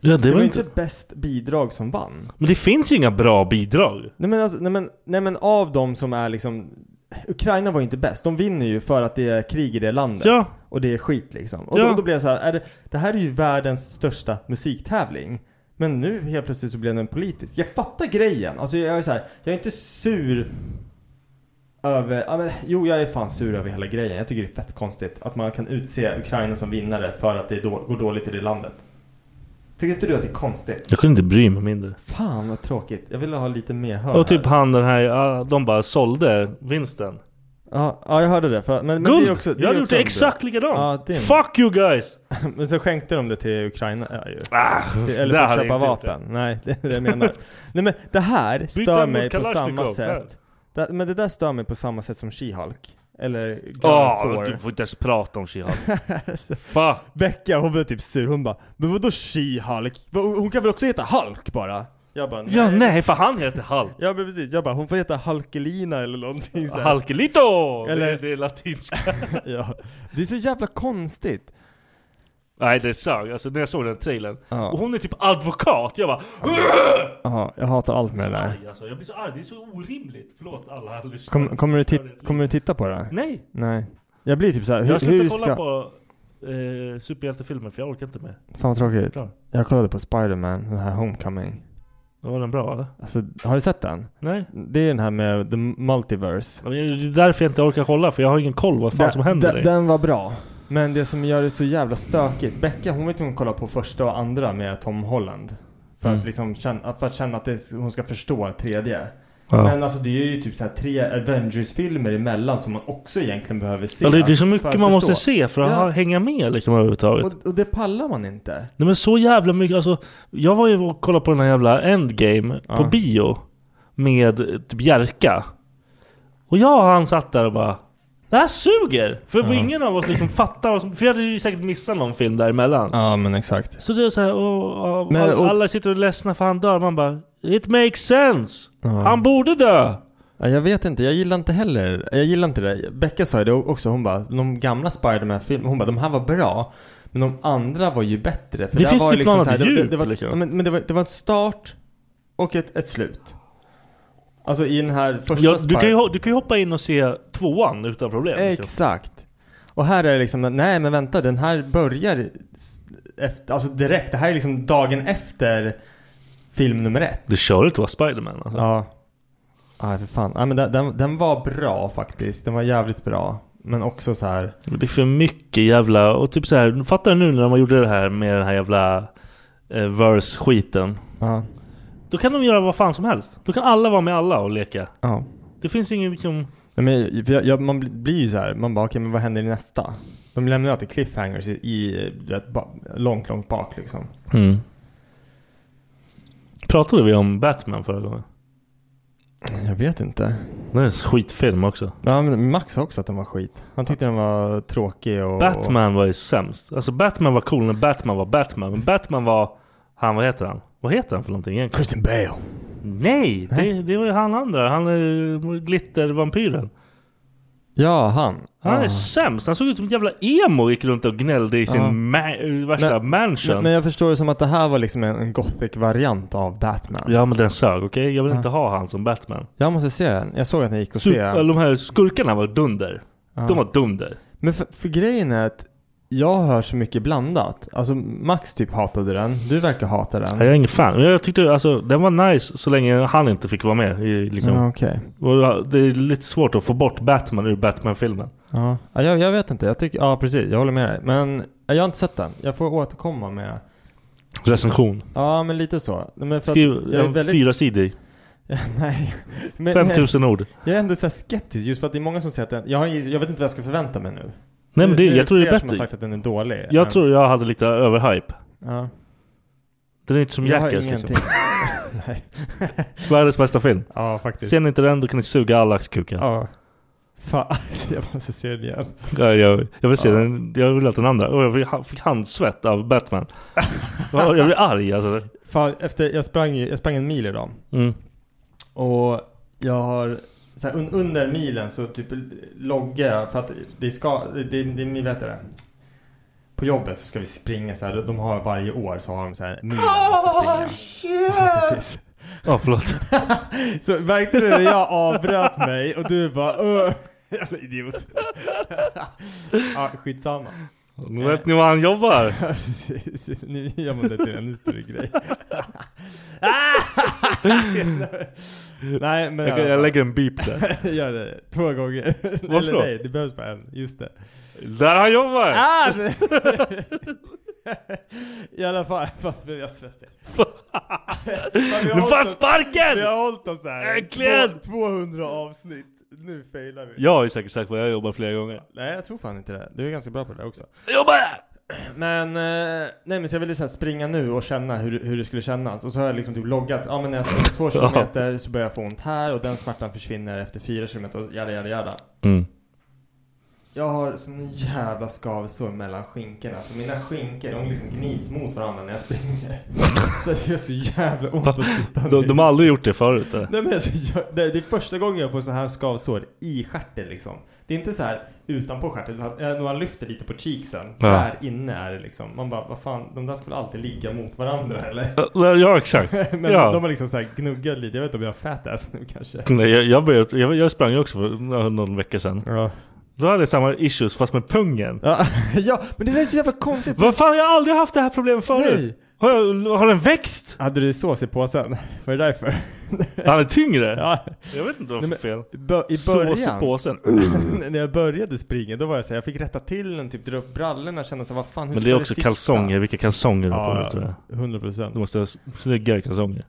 Speaker 2: Ja det var
Speaker 5: inte
Speaker 2: inte...
Speaker 5: bäst bidrag som vann
Speaker 2: Men det finns ju inga bra bidrag.
Speaker 5: Nej men alltså, nej men, nej men av de som är liksom Ukraina var ju inte bäst, de vinner ju för att det är krig i det landet
Speaker 2: Ja.
Speaker 5: Och det är skit liksom. Och
Speaker 2: Ja.
Speaker 5: då, då blev jag så här, är det, det här är ju världens största musiktävling. Men nu helt plötsligt så blev den politisk. Jag fattar grejen. Alltså jag är så här, jag är inte sur över, ja, men, jo jag är fan sur över hela grejen. Jag tycker det är fett konstigt att man kan utse Ukraina som vinnare för att det då, går dåligt i det landet. Tycker inte du att det är konstigt?
Speaker 2: Jag kunde inte bry mig mindre.
Speaker 5: Fan vad tråkigt. Jag ville ha lite mer hör
Speaker 2: Och typ
Speaker 5: här.
Speaker 2: han den här, ja, de bara sålde vinsten.
Speaker 5: ja, ja jag hörde det. För, men, men
Speaker 2: Guld!
Speaker 5: det är också, det
Speaker 2: jag
Speaker 5: är
Speaker 2: hade gjort
Speaker 5: också
Speaker 2: det
Speaker 5: en-
Speaker 2: exakt
Speaker 5: Ja,
Speaker 2: likadant!
Speaker 5: det är en-
Speaker 2: Fuck you guys!
Speaker 5: Men så skänkte de det till Ukraina ja, ju.
Speaker 2: Ah,
Speaker 5: Till- Eller
Speaker 2: där
Speaker 5: för att
Speaker 2: hade
Speaker 5: köpa
Speaker 2: jag inte gjort
Speaker 5: vapen. Nej, det är det jag menar. Nej men det här stör
Speaker 2: den mot
Speaker 5: mig på samma
Speaker 2: Kalashnikov,
Speaker 5: sätt. Det, men det där stör mig på samma sätt som She-Hulk. Eller Girl
Speaker 2: det. Ah,
Speaker 5: Thor.
Speaker 2: du får inte ens prata om She-Hulk. Fuck!
Speaker 5: Becka hon blev typ sur, hon bara Men vadå She-Hulk? Va- Hon kan väl också heta Hulk bara? Jag bara
Speaker 2: Ja nej, för han heter Hulk.
Speaker 5: Ja men precis, jag bara hon får heta Hulkelina eller någonting så här.
Speaker 2: Halkelito!
Speaker 5: Eller-
Speaker 2: Eller... Det, det är latinska.
Speaker 5: ja. Det är så jävla konstigt.
Speaker 2: nej det sög, alltså när jag såg den trailern.
Speaker 5: Ja.
Speaker 2: Och hon är typ advokat, jag bara
Speaker 5: Ja, jag hatar allt med det där.
Speaker 2: Arg, alltså. Jag blir så arg, det är så orimligt. Förlåt alla här lyssnare.
Speaker 5: Kom, kommer, du tit- kommer du titta på det?
Speaker 2: Nej!
Speaker 5: Nej. Jag blir typ såhär, hur,
Speaker 2: Jag
Speaker 5: hur
Speaker 2: slutar
Speaker 5: ska...
Speaker 2: kolla på eh, superhjältefilmer för jag orkar inte mer.
Speaker 5: Fan vad tråkigt.
Speaker 2: Klar.
Speaker 5: Jag kollade på Spider-Man, den här Homecoming.
Speaker 2: Var den bra eller?
Speaker 5: Alltså, har du sett den?
Speaker 2: Nej?
Speaker 5: Det är den här med the multiverse.
Speaker 2: Ja, men Det är därför jag inte orkar kolla, för jag har ingen koll vad fan som händer.
Speaker 5: den,
Speaker 2: i.
Speaker 5: den var bra. Men det som gör det så jävla stökigt. Becka hon vet hur hon kollar på första och andra med Tom Holland. För
Speaker 6: Mm.
Speaker 5: att liksom känna, för att, känna att det, hon ska förstå tredje.
Speaker 2: Ja.
Speaker 5: Men alltså det är ju typ så här tre Avengers-filmer emellan som man också egentligen behöver se.
Speaker 2: Ja, det det är så
Speaker 5: för
Speaker 2: mycket
Speaker 5: att
Speaker 2: man måste
Speaker 5: förstå.
Speaker 2: se för att
Speaker 5: Ja.
Speaker 2: ha- hänga med liksom överhuvudtaget.
Speaker 5: Och, och det pallar man inte.
Speaker 2: Nej men så jävla mycket, alltså Jag var ju och kollade på den här jävla Endgame på
Speaker 5: Ja.
Speaker 2: bio Med eh, typ Jerka Och jag och han satt där och bara Det här suger! För
Speaker 5: Ja.
Speaker 2: ingen av oss liksom fattar vad som, För jag hade ju säkert missat någon film däremellan
Speaker 5: Ja men exakt.
Speaker 2: Så det är såhär, och, och,
Speaker 5: Men,
Speaker 2: all-
Speaker 5: och-
Speaker 2: alla sitter och är ledsna för han dör Man bara It makes sense!
Speaker 5: Ja.
Speaker 2: Han borde dö!
Speaker 5: Ja, jag vet inte, jag gillar inte heller, jag gillar inte det. Becka sa ju det också, hon bara, de gamla Spiderman-filmerna, hon bara, de här var bra. Men de andra var ju bättre. För
Speaker 2: Det
Speaker 5: där
Speaker 2: finns
Speaker 5: var
Speaker 2: typ något
Speaker 5: så här,
Speaker 2: djup,
Speaker 5: det, det var,
Speaker 2: liksom.
Speaker 5: ja, men, men det var, det var en start och ett, ett slut. Alltså i den här första
Speaker 2: Ja, du, kan ju,
Speaker 5: Spider-
Speaker 2: ho- du kan ju hoppa in och se tvåan utan problem liksom.
Speaker 5: Exakt. Och här är det liksom, nej men vänta, den här börjar s- efter, alltså direkt. Det här är liksom dagen efter film nummer ett.
Speaker 2: Det kör inte vara Spiderman alltså.
Speaker 5: Ja. Nej för fan. Nej, men den, den, den var bra faktiskt. Den var jävligt bra. Men också så här.
Speaker 2: Men Det är för mycket jävla... Och typ så här, fattar du nu när de gjorde det här med den här jävla eh, verse-skiten?
Speaker 5: Ja.
Speaker 2: Då kan de göra vad fan som helst. Då kan alla vara med alla och leka.
Speaker 5: Ja.
Speaker 2: Det finns ingen liksom...
Speaker 5: Nej, men, för jag, jag, man bli- blir ju så här. Man bara okej men vad händer i nästa? De lämnar ju alltid cliffhangers i, i du vet, ba, långt långt bak liksom.
Speaker 2: Pratade vi om Batman förra gången?
Speaker 5: Jag vet inte.
Speaker 2: Det är en skitfilm också.
Speaker 5: Ja men Max sa också att den var skit. Han tyckte den var tråkig och...
Speaker 2: Batman var ju sämst. Alltså Batman var cool när Batman var Batman. Men Batman var... Han, vad heter han? Vad heter han för någonting egentligen?
Speaker 5: Christian Bale.
Speaker 2: Nej! Det, det var ju han andra. Han är ju glittervampyren.
Speaker 5: Ja han.
Speaker 2: Han är
Speaker 5: Ja.
Speaker 2: sämst. Han såg ut som ett jävla emo gick runt och gnällde i sin
Speaker 5: Ja.
Speaker 2: ma- värsta mansion.
Speaker 5: Men, men jag förstår det som att det här var liksom en, en gothic variant av Batman.
Speaker 2: Ja men den sög, okej? Jag vill
Speaker 5: Ja.
Speaker 2: inte ha han som Batman.
Speaker 5: Jag måste se den. Jag såg att ni gick och
Speaker 2: Super,
Speaker 5: se.
Speaker 2: eller de här skurkarna var dunder.
Speaker 5: Ja.
Speaker 2: De var dunder.
Speaker 5: Men för, för grejen är att jag hör så mycket blandat. Alltså Max typ hatade den. Du verkar hata den.
Speaker 2: Jag är ingen fan. Men Jag tyckte alltså den var nice så länge han inte fick vara med. i, Liksom.
Speaker 5: Ja, okej.
Speaker 2: Och det är lite svårt att få bort Batman ur Batman-filmen.
Speaker 5: Ja. Ja, jag, jag vet inte. Jag tycker, ja precis. Jag håller med dig. Men jag har inte sett den. Jag får återkomma med.
Speaker 2: Recension.
Speaker 5: Ja, men lite så. Men för att
Speaker 2: Skriv en fyra sidor.
Speaker 5: Nej. Men,
Speaker 2: 5000 ord.
Speaker 5: Jag är ändå så här skeptisk just för att det är många som säger att den, jag, har, jag vet inte vad jag ska förvänta mig nu.
Speaker 2: Nej men det,
Speaker 5: Nu- nu
Speaker 2: jag tror det är
Speaker 5: fler som har
Speaker 2: bättre.
Speaker 5: sagt att den är dålig.
Speaker 2: Jag
Speaker 5: än-
Speaker 2: tror jag hade lite överhype.
Speaker 5: Ja.
Speaker 2: Den är inte som
Speaker 5: Jag har
Speaker 2: Jackass liksom.
Speaker 5: ingenting. Nej.
Speaker 2: Världens bästa film.
Speaker 5: Ja, faktiskt.
Speaker 2: Ser ni inte den då kan ni suga alla kuken.
Speaker 5: Ja. Fan, alltså, jag måste se den igen.
Speaker 2: Ja, jag, jag vill se
Speaker 5: Ja.
Speaker 2: den, jag vill att den andra, och jag fick, ha- fick handsvett av Batman. Ja, jag blir arg alltså.
Speaker 5: Fan, efter, jag, sprang, ju- jag sprang en mil idag.
Speaker 2: Mm.
Speaker 5: Och jag har så här, un, under milen så typ loggar jag för att det ska, det, det, det ni vet det. På jobbet så ska vi springa så här. De har varje år så har de så här milen man ska springa. Ja, precis.
Speaker 2: Ja, förlåt.
Speaker 5: Så märkte du när jag avbröt mig och du bara "Åh, Jävla idiot. ja, skitsamma.
Speaker 2: Nu vet ni var han jobbar.
Speaker 5: Ja, precis. Nu gör man det till en ännu större grej. Nej men
Speaker 2: Jag, jag lägger en beep där.
Speaker 5: Gör det två gånger.
Speaker 2: Varför då?
Speaker 5: Eller nej, det behövs bara en. Just det.
Speaker 2: Där han jobbar!
Speaker 5: Ah! nej. I alla fall, varför blev jag svettig? Fan, vi har
Speaker 2: Nu får han
Speaker 5: hållit oss- Vi
Speaker 2: sparken!
Speaker 5: har hållit oss här.
Speaker 2: Äntligen!
Speaker 5: Två- 200 avsnitt. Nu failar vi.
Speaker 2: Jag har ju säkert sagt vad jag jobbar flera gånger.
Speaker 5: Nej jag tror fan inte det. Du är ganska bra på det där också.
Speaker 2: Jag jobbar här!
Speaker 5: Men, eh, nej men så jag ville så här springa nu och känna hur, hur det skulle kännas. Och så har jag liksom typ loggat, ja men när jag springer två
Speaker 2: Ja.
Speaker 5: kilometer så börjar jag få ont här och den smärtan försvinner efter fyra kilometer och jada jada jada.
Speaker 2: Mm.
Speaker 5: Jag har sån jävla skavsår mellan skinkorna. För mina skinkor, de liksom gnids mot varandra när jag springer. så det gör så jävla ont att sitta
Speaker 2: De,
Speaker 5: ner.
Speaker 2: de har aldrig gjort det förut. eller?
Speaker 5: Nej men alltså, jag, det, det är första gången jag får så här skavsår i stjärten liksom. Det är inte så här utanpå stjärten, utan eh, när man lyfter lite på cheeksen.
Speaker 2: Ja.
Speaker 5: Där inne är det liksom. Man bara, vad fan, de där skulle alltid ligga mot varandra eller?
Speaker 2: Ja, Ja, exakt.
Speaker 5: men
Speaker 2: ja.
Speaker 5: de har liksom så här gnuggat lite. Jag vet inte om jag har fat ass nu kanske.
Speaker 2: Nej, jag, jag, började, jag, jag sprang ju också för någon vecka sedan.
Speaker 5: Ja.
Speaker 2: Då hade jag samma issues fast med pungen.
Speaker 5: Ja, ja, men det där är så jävla konstigt.
Speaker 2: Vad fan, jag har aldrig haft det här problemet förut.
Speaker 5: Nej.
Speaker 2: Har, jag, har den växt?
Speaker 5: Hade du sås i påsen? Var det därför?
Speaker 2: Han är tyngre?
Speaker 5: Ja.
Speaker 2: Jag vet inte vad
Speaker 5: Nej,
Speaker 2: för
Speaker 5: men-
Speaker 2: fel.
Speaker 5: Bö- I
Speaker 2: Sås i
Speaker 5: början.
Speaker 2: påsen.
Speaker 5: Mm. när jag började springa, då var jag så här, jag fick rätta till den, typ dra upp brallorna, känna så här, vad fan, hur
Speaker 2: Men
Speaker 5: ska
Speaker 2: det är också
Speaker 5: sitta?
Speaker 2: kalsonger, vilka kalsonger du har på dig
Speaker 5: Ja,
Speaker 2: tror jag.
Speaker 5: 100 procent.
Speaker 2: Du måste ha s- snyggare kalsonger.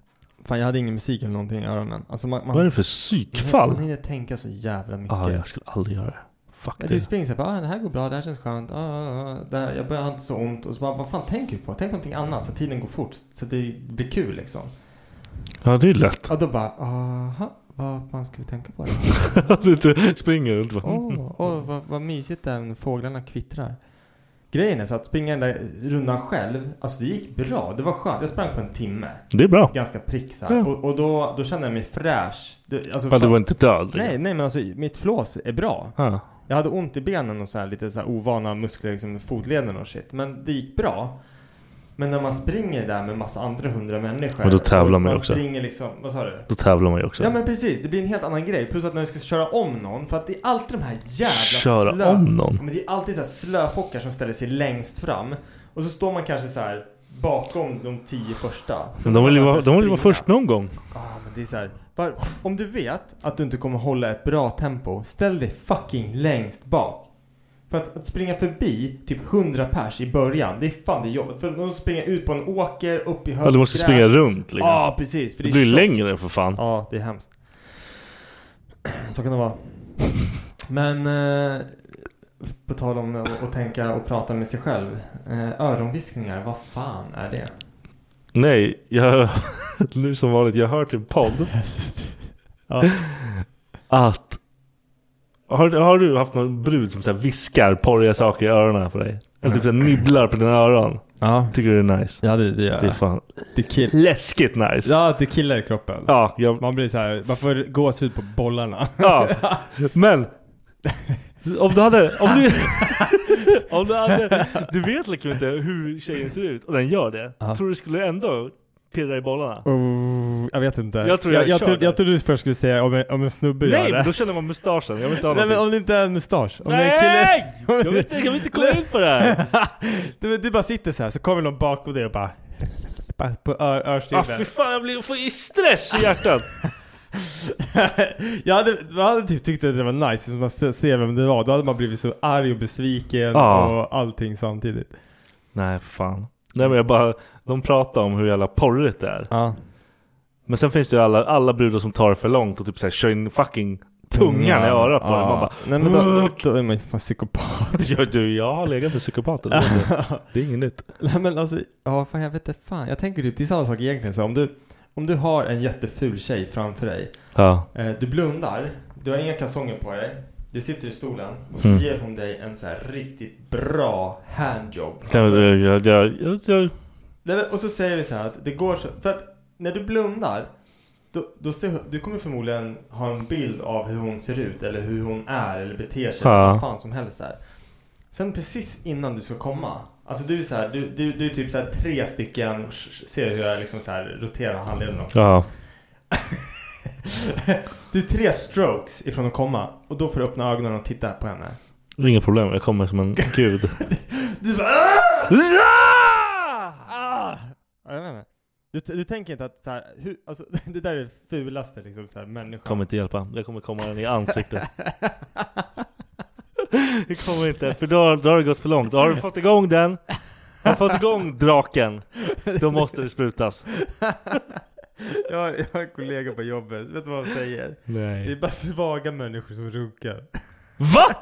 Speaker 5: Fan jag hade ingen musik eller någonting i öronen. Alltså man, man,
Speaker 2: Vad är det för
Speaker 5: Man
Speaker 2: psykfall?
Speaker 5: hinner tänka så jävla mycket.
Speaker 2: Ah,
Speaker 5: jag
Speaker 2: jag skulle aldrig göra det. Fuck
Speaker 5: typ
Speaker 2: det.
Speaker 5: springer såhär, ah, det här går bra, det här känns skönt, ah, ah, ah, det här, jag börjar ha inte så ont. Och så bara, vad fan tänker du på? Tänk på någonting annat så att tiden går fort. Så att det blir kul liksom.
Speaker 2: Ja, det är lätt.
Speaker 5: Och då bara, aha, vad fan ska vi tänka på då?
Speaker 2: Du inte springer runt bara,
Speaker 5: Åh,
Speaker 2: mm.
Speaker 5: åh, vad, vad mysigt det är när fåglarna kvittrar. Grejen är så att springa den där rundan själv, alltså det gick bra. Det var skönt. Jag sprang på en timme.
Speaker 2: Det är bra.
Speaker 5: Ganska prick så
Speaker 2: Ja.
Speaker 5: här. Och, och då, då kände jag mig fräsch. Det, alltså,
Speaker 2: Ja, du
Speaker 5: fan-
Speaker 2: var inte död.
Speaker 5: Nej, nej men alltså mitt flås är bra.
Speaker 2: Ah.
Speaker 5: Jag hade ont i benen och så här, lite så här ovana muskler, liksom fotleden och shit. Men det gick bra. Men när man springer där med massa andra hundra människor.
Speaker 2: Och då tävlar man ju
Speaker 5: man
Speaker 2: också.
Speaker 5: springer liksom, vad sa du?
Speaker 2: Då tävlar man ju också.
Speaker 5: Ja men precis, det blir en helt annan grej. Plus att när vi ska köra om någon, för att det är alltid de här jävla
Speaker 2: Köra
Speaker 5: slö...
Speaker 2: om någon?
Speaker 5: Ja, Men det är alltid så här slöfockar som ställer sig längst fram. Och så står man kanske så här bakom de tio första.
Speaker 2: Men de vill ju
Speaker 5: Så man
Speaker 2: vara, de vill ju vara
Speaker 5: springa.
Speaker 2: först någon gång.
Speaker 5: Ja, Ah, men det är så här. Var, om du vet att du inte kommer hålla ett bra tempo, ställ dig fucking längst bak. För att, att springa förbi typ 100 pers i början, det är fan det är jobbigt. För de springer ut på en åker, upp i högt
Speaker 2: Ja, du måste
Speaker 5: gräs.
Speaker 2: springa runt liksom.
Speaker 5: Ja, precis. För
Speaker 2: Det
Speaker 5: är
Speaker 2: blir ju
Speaker 5: tjockt.
Speaker 2: längre för fan.
Speaker 5: Ja, det är hemskt. Så kan det vara. Men eh, på tal om att att tänka och prata med sig själv. Eh, öronviskningar, vad fan är det?
Speaker 2: Nej, jag, nu som vanligt, jag har hört i en podd
Speaker 5: Ja.
Speaker 2: att har, har du haft någon brud som så här viskar porriga saker i öronen på dig? Eller typ så här nibblar på dina öron?
Speaker 5: Ja,
Speaker 2: Tycker du det är nice?
Speaker 5: ja det, det gör
Speaker 2: Det är fan
Speaker 5: Det kill-
Speaker 2: läskigt nice!
Speaker 5: Ja, det killar i kroppen.
Speaker 2: Ja, jag,
Speaker 5: Man blir så här, man får gåshud på bollarna.
Speaker 2: ja. men om du hade, om du, om du hade, du vet liksom inte hur tjejen ser ut och den gör det.
Speaker 5: Ja.
Speaker 2: Tror du skulle ändå pirra i bollarna?
Speaker 5: Oh, jag vet inte.
Speaker 2: Jag tror jag
Speaker 5: jag, jag,
Speaker 2: kör
Speaker 5: tror,
Speaker 2: där.
Speaker 5: jag tror du först skulle säga om en, om en snubbe
Speaker 2: Nej, men
Speaker 5: gör
Speaker 2: då
Speaker 5: det.
Speaker 2: känner man mustaschen. Jag vill inte ha
Speaker 5: Nej men
Speaker 2: någonting.
Speaker 5: om det inte är en mustasch. Om det är en kille.
Speaker 2: Nej! Jag vill, inte, jag vill inte komma in på det här.
Speaker 5: Du, du bara sitter så här, så kommer någon bakom dig och bara... bara På ör,
Speaker 2: Ah,
Speaker 5: örstilen.
Speaker 2: fy fan, jag blir, får stress i hjärtat.
Speaker 5: jag, hade, jag hade typ tyckt att det var nice, liksom man se- ser vem det var. Då hade man blivit så arg och besviken
Speaker 2: Ja.
Speaker 5: och allting samtidigt.
Speaker 2: Nej, för fan. Nej men jag bara, de pratar om hur jävla porrigt det är.
Speaker 5: Ja.
Speaker 2: Men sen finns det ju alla, alla brudar som tar det för långt och typ såhär kör in fucking tungan i örat på en. Man bara,
Speaker 5: Mm. Ah. Nej men då, då är man ju fan psykopat.
Speaker 2: ja, du jag har legat med psykopater. Det är- Det är inget nytt.
Speaker 5: Nej men alltså, ja fan jag vet inte fan. Jag tänker typ, det är samma sak egentligen så om du, om du har en jätteful tjej framför dig.
Speaker 2: Ja.
Speaker 5: Eh, du blundar, du har inga kalsonger på dig. Du sitter i stolen och så
Speaker 2: Mm.
Speaker 5: ger hon dig en så här riktigt bra handjob.
Speaker 2: Jag,
Speaker 5: Alltså,
Speaker 2: jag, jag, jag, jag,
Speaker 5: nej, men, och så säger vi så här att det går så, för att när du blundar då, då ser, du kommer förmodligen ha en bild av hur hon ser ut eller hur hon är eller beter sig.
Speaker 2: Ja.
Speaker 5: eller Vad fan som helst så här. Sen precis innan du ska komma. Alltså du är så här, du, du, du är typ så här tre stycken, ser hur jag liksom så här roterar handleden också.
Speaker 2: ja.
Speaker 5: Du är tre strokes ifrån att komma och då får du öppna ögonen och titta på henne.
Speaker 2: Inga problem, jag kommer som en gud.
Speaker 5: Du bara "Ah! Ja! Ah!" Ja, jag vet inte. Du, du tänker inte att så här, hur, alltså, det där är det fulaste liksom så här människan.
Speaker 2: Kommer inte hjälpa. Jag kommer komma den i ansiktet. Det kommer inte, för då, då har det gått för långt. Då har du fått igång den, har du fått igång draken, då måste det sprutas.
Speaker 5: jag, har, jag har en kollega på jobbet, vet du vad han säger? Det är
Speaker 2: Nej.
Speaker 5: bara svaga människor som runkar.
Speaker 2: VA?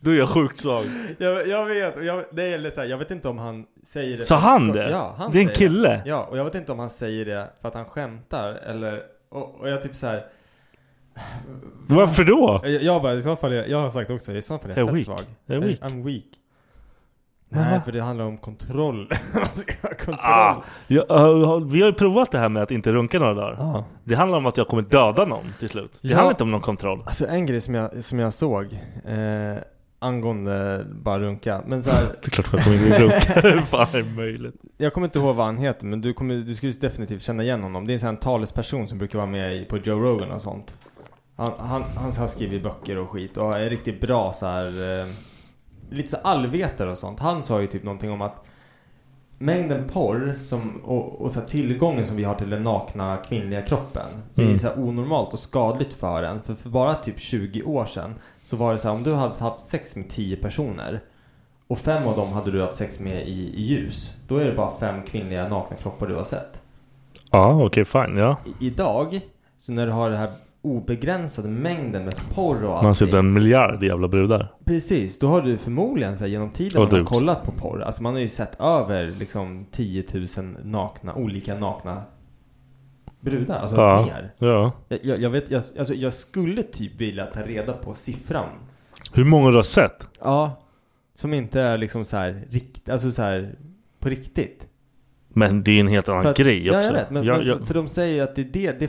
Speaker 2: Då är jag sjukt svag.
Speaker 5: Jag, jag vet, och jag, nej, eller så här, jag vet inte om han säger det.
Speaker 2: Sa han det?
Speaker 5: Ja, han
Speaker 2: Det är en
Speaker 5: säger
Speaker 2: kille?
Speaker 5: Ja, och jag vet inte om han säger det för att han skämtar eller, och, och jag typ så här.
Speaker 2: Varför då?
Speaker 5: Jag, jag bara, i så fall, är- jag har sagt också, i så fall är
Speaker 2: Jag
Speaker 5: jag
Speaker 2: är
Speaker 5: fett
Speaker 2: weak.
Speaker 5: svag.
Speaker 2: Jag är weak.
Speaker 5: I'm weak.
Speaker 2: Men
Speaker 5: Eh, Nej,
Speaker 2: va?
Speaker 5: för det handlar om kontroll. Man ska ha kontroll.
Speaker 2: Ah, jag, äh, vi har ju provat det här med att inte runka några dagar.
Speaker 5: Ja.
Speaker 2: Det handlar om att jag kommer döda någon till slut. Det
Speaker 5: Ja.
Speaker 2: handlar inte om någon kontroll.
Speaker 5: Alltså en grej som jag, som jag såg eh, angående bara runka. Men så här,
Speaker 2: Det är klart att jag kommer inte runka. Hur fan är det möjligt?
Speaker 5: jag kommer inte ihåg vad han heter men du, kommer, du skulle definitivt känna igen honom. Det är en sån här talesperson som brukar vara med i, på Joe Rogan och sånt. Han, han, han har skrivit böcker och skit och är riktigt bra så här eh, lite så här allvetare och sånt. Han sa ju typ någonting om att mängden porr som, och, och så här tillgången som vi har till den nakna kvinnliga kroppen. Det är
Speaker 6: Mm.
Speaker 5: så här onormalt och skadligt för en. För, för bara typ 20 år sedan så var det så här om du hade haft sex med 10 personer och fem av dem hade du haft sex med i, i ljus. Då är det bara fem kvinnliga nakna kroppar du har sett.
Speaker 2: Ja, okej fine. Ja.
Speaker 5: I- idag, så när du har den här obegränsade mängden med porr och
Speaker 2: Man sitter en miljard jävla brudar.
Speaker 5: Alltså, Precis, då har du förmodligen så här, genom tiden
Speaker 2: Och
Speaker 5: man har
Speaker 2: du.
Speaker 5: kollat på porr, alltså man har ju sett över liksom 10 000 nakna, olika nakna brudar, alltså
Speaker 2: Ja,
Speaker 5: mer.
Speaker 2: ja.
Speaker 5: Jag- Jag, jag, vet, jag, alltså, jag skulle typ vilja ta reda på siffran.
Speaker 2: Hur många du har sett?
Speaker 5: Ja, som inte är liksom så här, rikt, alltså så här på riktigt.
Speaker 2: Men det är en helt annan
Speaker 5: För att-
Speaker 2: grej
Speaker 5: ja,
Speaker 2: också.
Speaker 5: jag vet, men,
Speaker 2: Jag-
Speaker 5: men
Speaker 2: jag-
Speaker 5: För, för de säger ju att det är det, det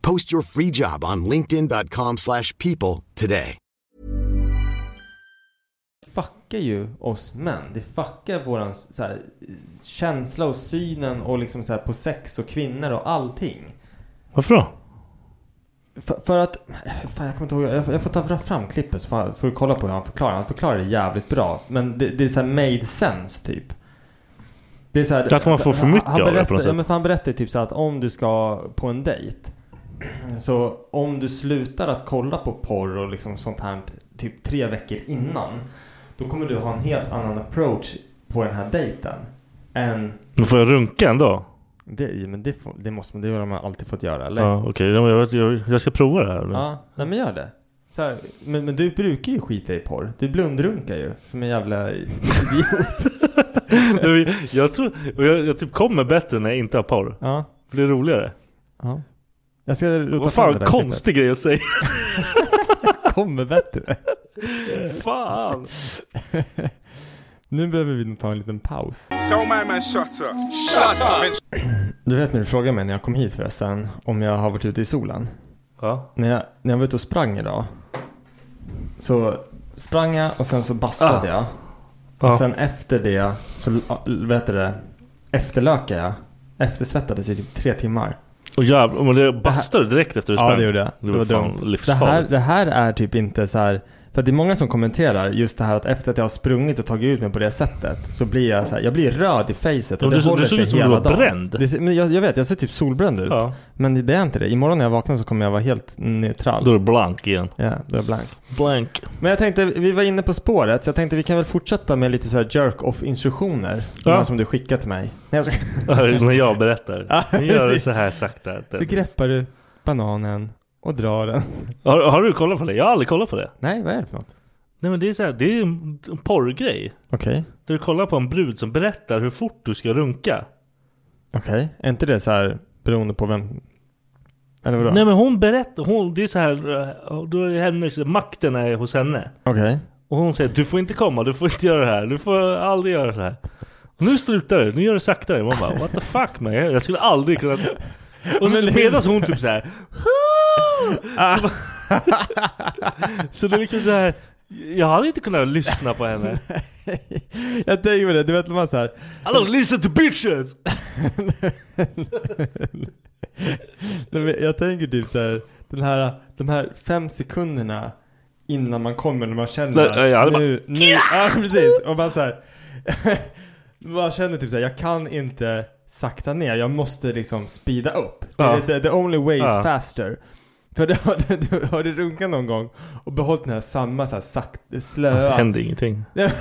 Speaker 7: Post your free job on linkedin.com/people slash people today.
Speaker 5: fuckar ju oss män. Det fuckar våran så här, känsla och synen och liksom så här, på sex och kvinnor och allting.
Speaker 2: Varför då?
Speaker 5: För, för att, fan jag kommer inte ihåg, jag, får- jag får ta fram klippet så fan- får du kolla på hur han förklarar. Han förklarar det jävligt bra. Men det, det är såhär made sense typ. Det är så här,
Speaker 2: Det är att man får för mycket
Speaker 5: han,
Speaker 2: av det
Speaker 5: han
Speaker 2: på
Speaker 5: berättar,
Speaker 2: något sätt.
Speaker 5: ja, men för Han berättar typ så här att om du ska på en dejt. Så om du slutar att kolla på porr och liksom sånt här typ tre veckor innan. Då kommer du ha en helt annan approach på den här dejten. Än,
Speaker 2: Men får jag runka ändå?
Speaker 5: det, men det, får, det måste man, det har man alltid fått göra eller?
Speaker 2: Ja, okej. Ja, men Jag, vet- jag, jag ska prova det här. nu.
Speaker 5: Ja, nej men gör det. Så här, men, men du brukar ju skita i porr. Du blundrunkar ju som en jävla idiot.
Speaker 2: Nej, men jag, tror, och jag, jag typ kommer bättre när jag inte har porr.
Speaker 5: Ja.
Speaker 2: För det är roligare.
Speaker 5: Ja. Jag ska rota
Speaker 2: Vad
Speaker 5: fram
Speaker 2: fan
Speaker 5: det där
Speaker 2: konstig grej att säga.
Speaker 5: Kommer bättre.
Speaker 2: fan.
Speaker 5: nu behöver vi nog ta en liten paus.
Speaker 8: Tell my man shut up.
Speaker 4: Shut up.
Speaker 5: Du vet när du frågade mig när jag kom hit förresten om jag har varit ute i solen.
Speaker 2: Ja.
Speaker 5: När jag, när jag var ute och sprang idag. Så sprang jag och sen så bastade
Speaker 2: Ah.
Speaker 5: jag.
Speaker 2: Ja.
Speaker 5: Och sen efter det så l- vet du det, efterlökade jag. Eftersvettades i typ tre timmar.
Speaker 2: Och jävlar, men det bastade direkt efter du
Speaker 5: Ja
Speaker 2: sprang.
Speaker 5: det gjorde jag.
Speaker 2: Det var fan
Speaker 5: dumt. det, här,
Speaker 2: livsfarligt.
Speaker 5: det här är typ inte så här. För att det är många som kommenterar just det här att efter att jag har sprungit och tagit ut mig på det sättet så blir jag så här, jag blir röd i facet
Speaker 2: Men
Speaker 5: och
Speaker 2: du
Speaker 5: det
Speaker 2: så-
Speaker 5: håller
Speaker 2: du såg
Speaker 5: sig
Speaker 2: ut som du
Speaker 5: hela
Speaker 2: var
Speaker 5: dagen.
Speaker 2: bränd.
Speaker 5: Det ser- men jag, jag vet, jag ser typ solbränd ut.
Speaker 2: Ja.
Speaker 5: Men det är inte det. Imorgon när jag vaknar så kommer jag vara helt neutral.
Speaker 2: Då är du blank igen.
Speaker 5: Ja, då är jag blank.
Speaker 2: Blank.
Speaker 5: Men jag tänkte, vi var inne på spåret så jag tänkte vi kan väl fortsätta med lite så här jerk-off instruktioner. De här som du skickat till mig. Nej, jag skojar.
Speaker 2: När jag berättar. Nu gör du
Speaker 5: precis.
Speaker 2: så här sakta.
Speaker 5: Så greppar du bananen och drar den.
Speaker 2: Har, har du kollat på det? Jag har aldrig kollat på det.
Speaker 5: Nej, vad är det för något?
Speaker 2: Nej men det är så här, det är en en porrgrej.
Speaker 5: Okej.
Speaker 2: Där du kollar på en brud som berättar hur fort du ska runka.
Speaker 5: Okej, är inte det så här beroende på vem? Eller vadå?
Speaker 2: Nej men hon berättar, hon, det är så här, eh, då är hennes, makten är hos henne.
Speaker 5: Okej.
Speaker 2: Och hon säger du får inte komma, du får inte göra det här, du får aldrig göra så här. Och nu slutar du, nu gör du saktare. Man bara what the fuck man, jag jag skulle aldrig kunna... Och så medan hon typ så här. Så, bara- så det är liksom så här. Jag hade inte kunnat lyssna på henne.
Speaker 5: Jag tänker på det, du vet när man såhär...
Speaker 2: I don't listen to bitches!
Speaker 5: jag tänker typ såhär, den här, de här fem sekunderna innan man kommer när man känner
Speaker 2: Nej, jag hade
Speaker 5: att nu, nu, ja precis. Och man såhär, man känner typ såhär, jag kan inte sakta ner, jag måste liksom speeda upp. Det är
Speaker 2: Ja.
Speaker 5: lite, the only way is
Speaker 2: Ja.
Speaker 5: faster. För det, har- du har du runkat någon gång och behållit den här samma så här sakta, slöa.
Speaker 2: Fast det hände Alltså, ingenting.
Speaker 5: Nej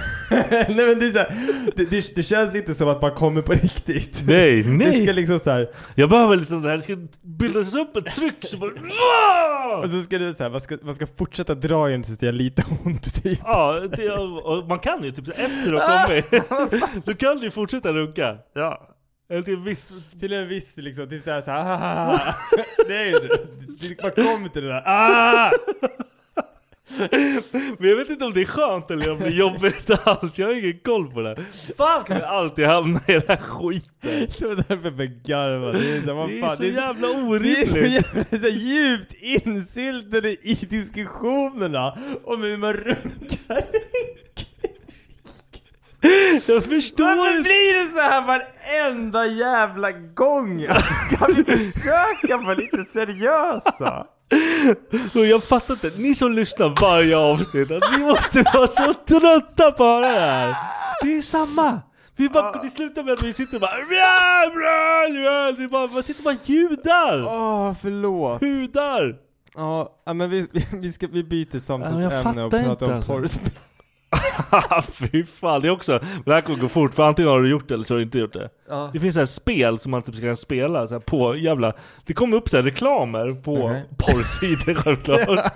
Speaker 5: men det, är så här, det, det, det känns inte som att man kommer på riktigt.
Speaker 2: Nej, nej.
Speaker 5: Det ska liksom så här,
Speaker 2: Jag behöver lite av det här. Det ska bildas upp ett tryck så bara...
Speaker 5: och så ska det så här, man ska, man ska fortsätta dra i den tills det gör lite ont typ.
Speaker 2: Ja, det, och man kan ju typ så efter att ha kommit. Då kan du ju fortsätta runka. Ja. Eller till en viss...
Speaker 5: Till en viss liksom, tills det är så här, ah, Det är ju det. Det- Man kommer till det där, ah!
Speaker 2: Men jag vet inte om det är skönt eller om det är jobbigt alls. Jag har ingen koll på det. här. Fan kan jag alltid hamna i den här skiten.
Speaker 5: Det var därför jag började garva. Det är så, här, vad
Speaker 2: Det är
Speaker 5: fan,
Speaker 2: så jävla
Speaker 5: Det är så,
Speaker 2: orimligt.
Speaker 5: jävla, det är så djupt insyltade i diskussionerna om hur man runkar.
Speaker 2: Jag förstår
Speaker 5: Varför
Speaker 2: inte.
Speaker 5: blir det så här varenda jävla gång? Alltså, Kan vi försöka vara lite seriösa?
Speaker 2: Och jag fattar inte, ni som lyssnar varje avsnitt, att ni måste vara så trötta på det här! Det är samma! Vi bara, det slutar med att vi sitter och bara... "Bra, bra, bra." Det är bara man sitter och bara ljudar!
Speaker 5: Åh, förlåt.
Speaker 2: Hudar!
Speaker 5: Ja, ja, men vi, vi- vi, ska, vi byter
Speaker 2: Ja, jag
Speaker 5: samtalsämne
Speaker 2: fattar
Speaker 5: och pratar
Speaker 2: inte,
Speaker 5: om
Speaker 2: alltså.
Speaker 5: porrspel.
Speaker 2: Fy fan, det är också... Men det här kommer gå fort, för antingen har du gjort det eller så har du inte gjort det.
Speaker 5: Ja.
Speaker 2: Det finns så här spel som man typ ska spela så här på jävla... Det kommer upp så här reklamer på
Speaker 5: Mhm.
Speaker 2: porrsidor självklart.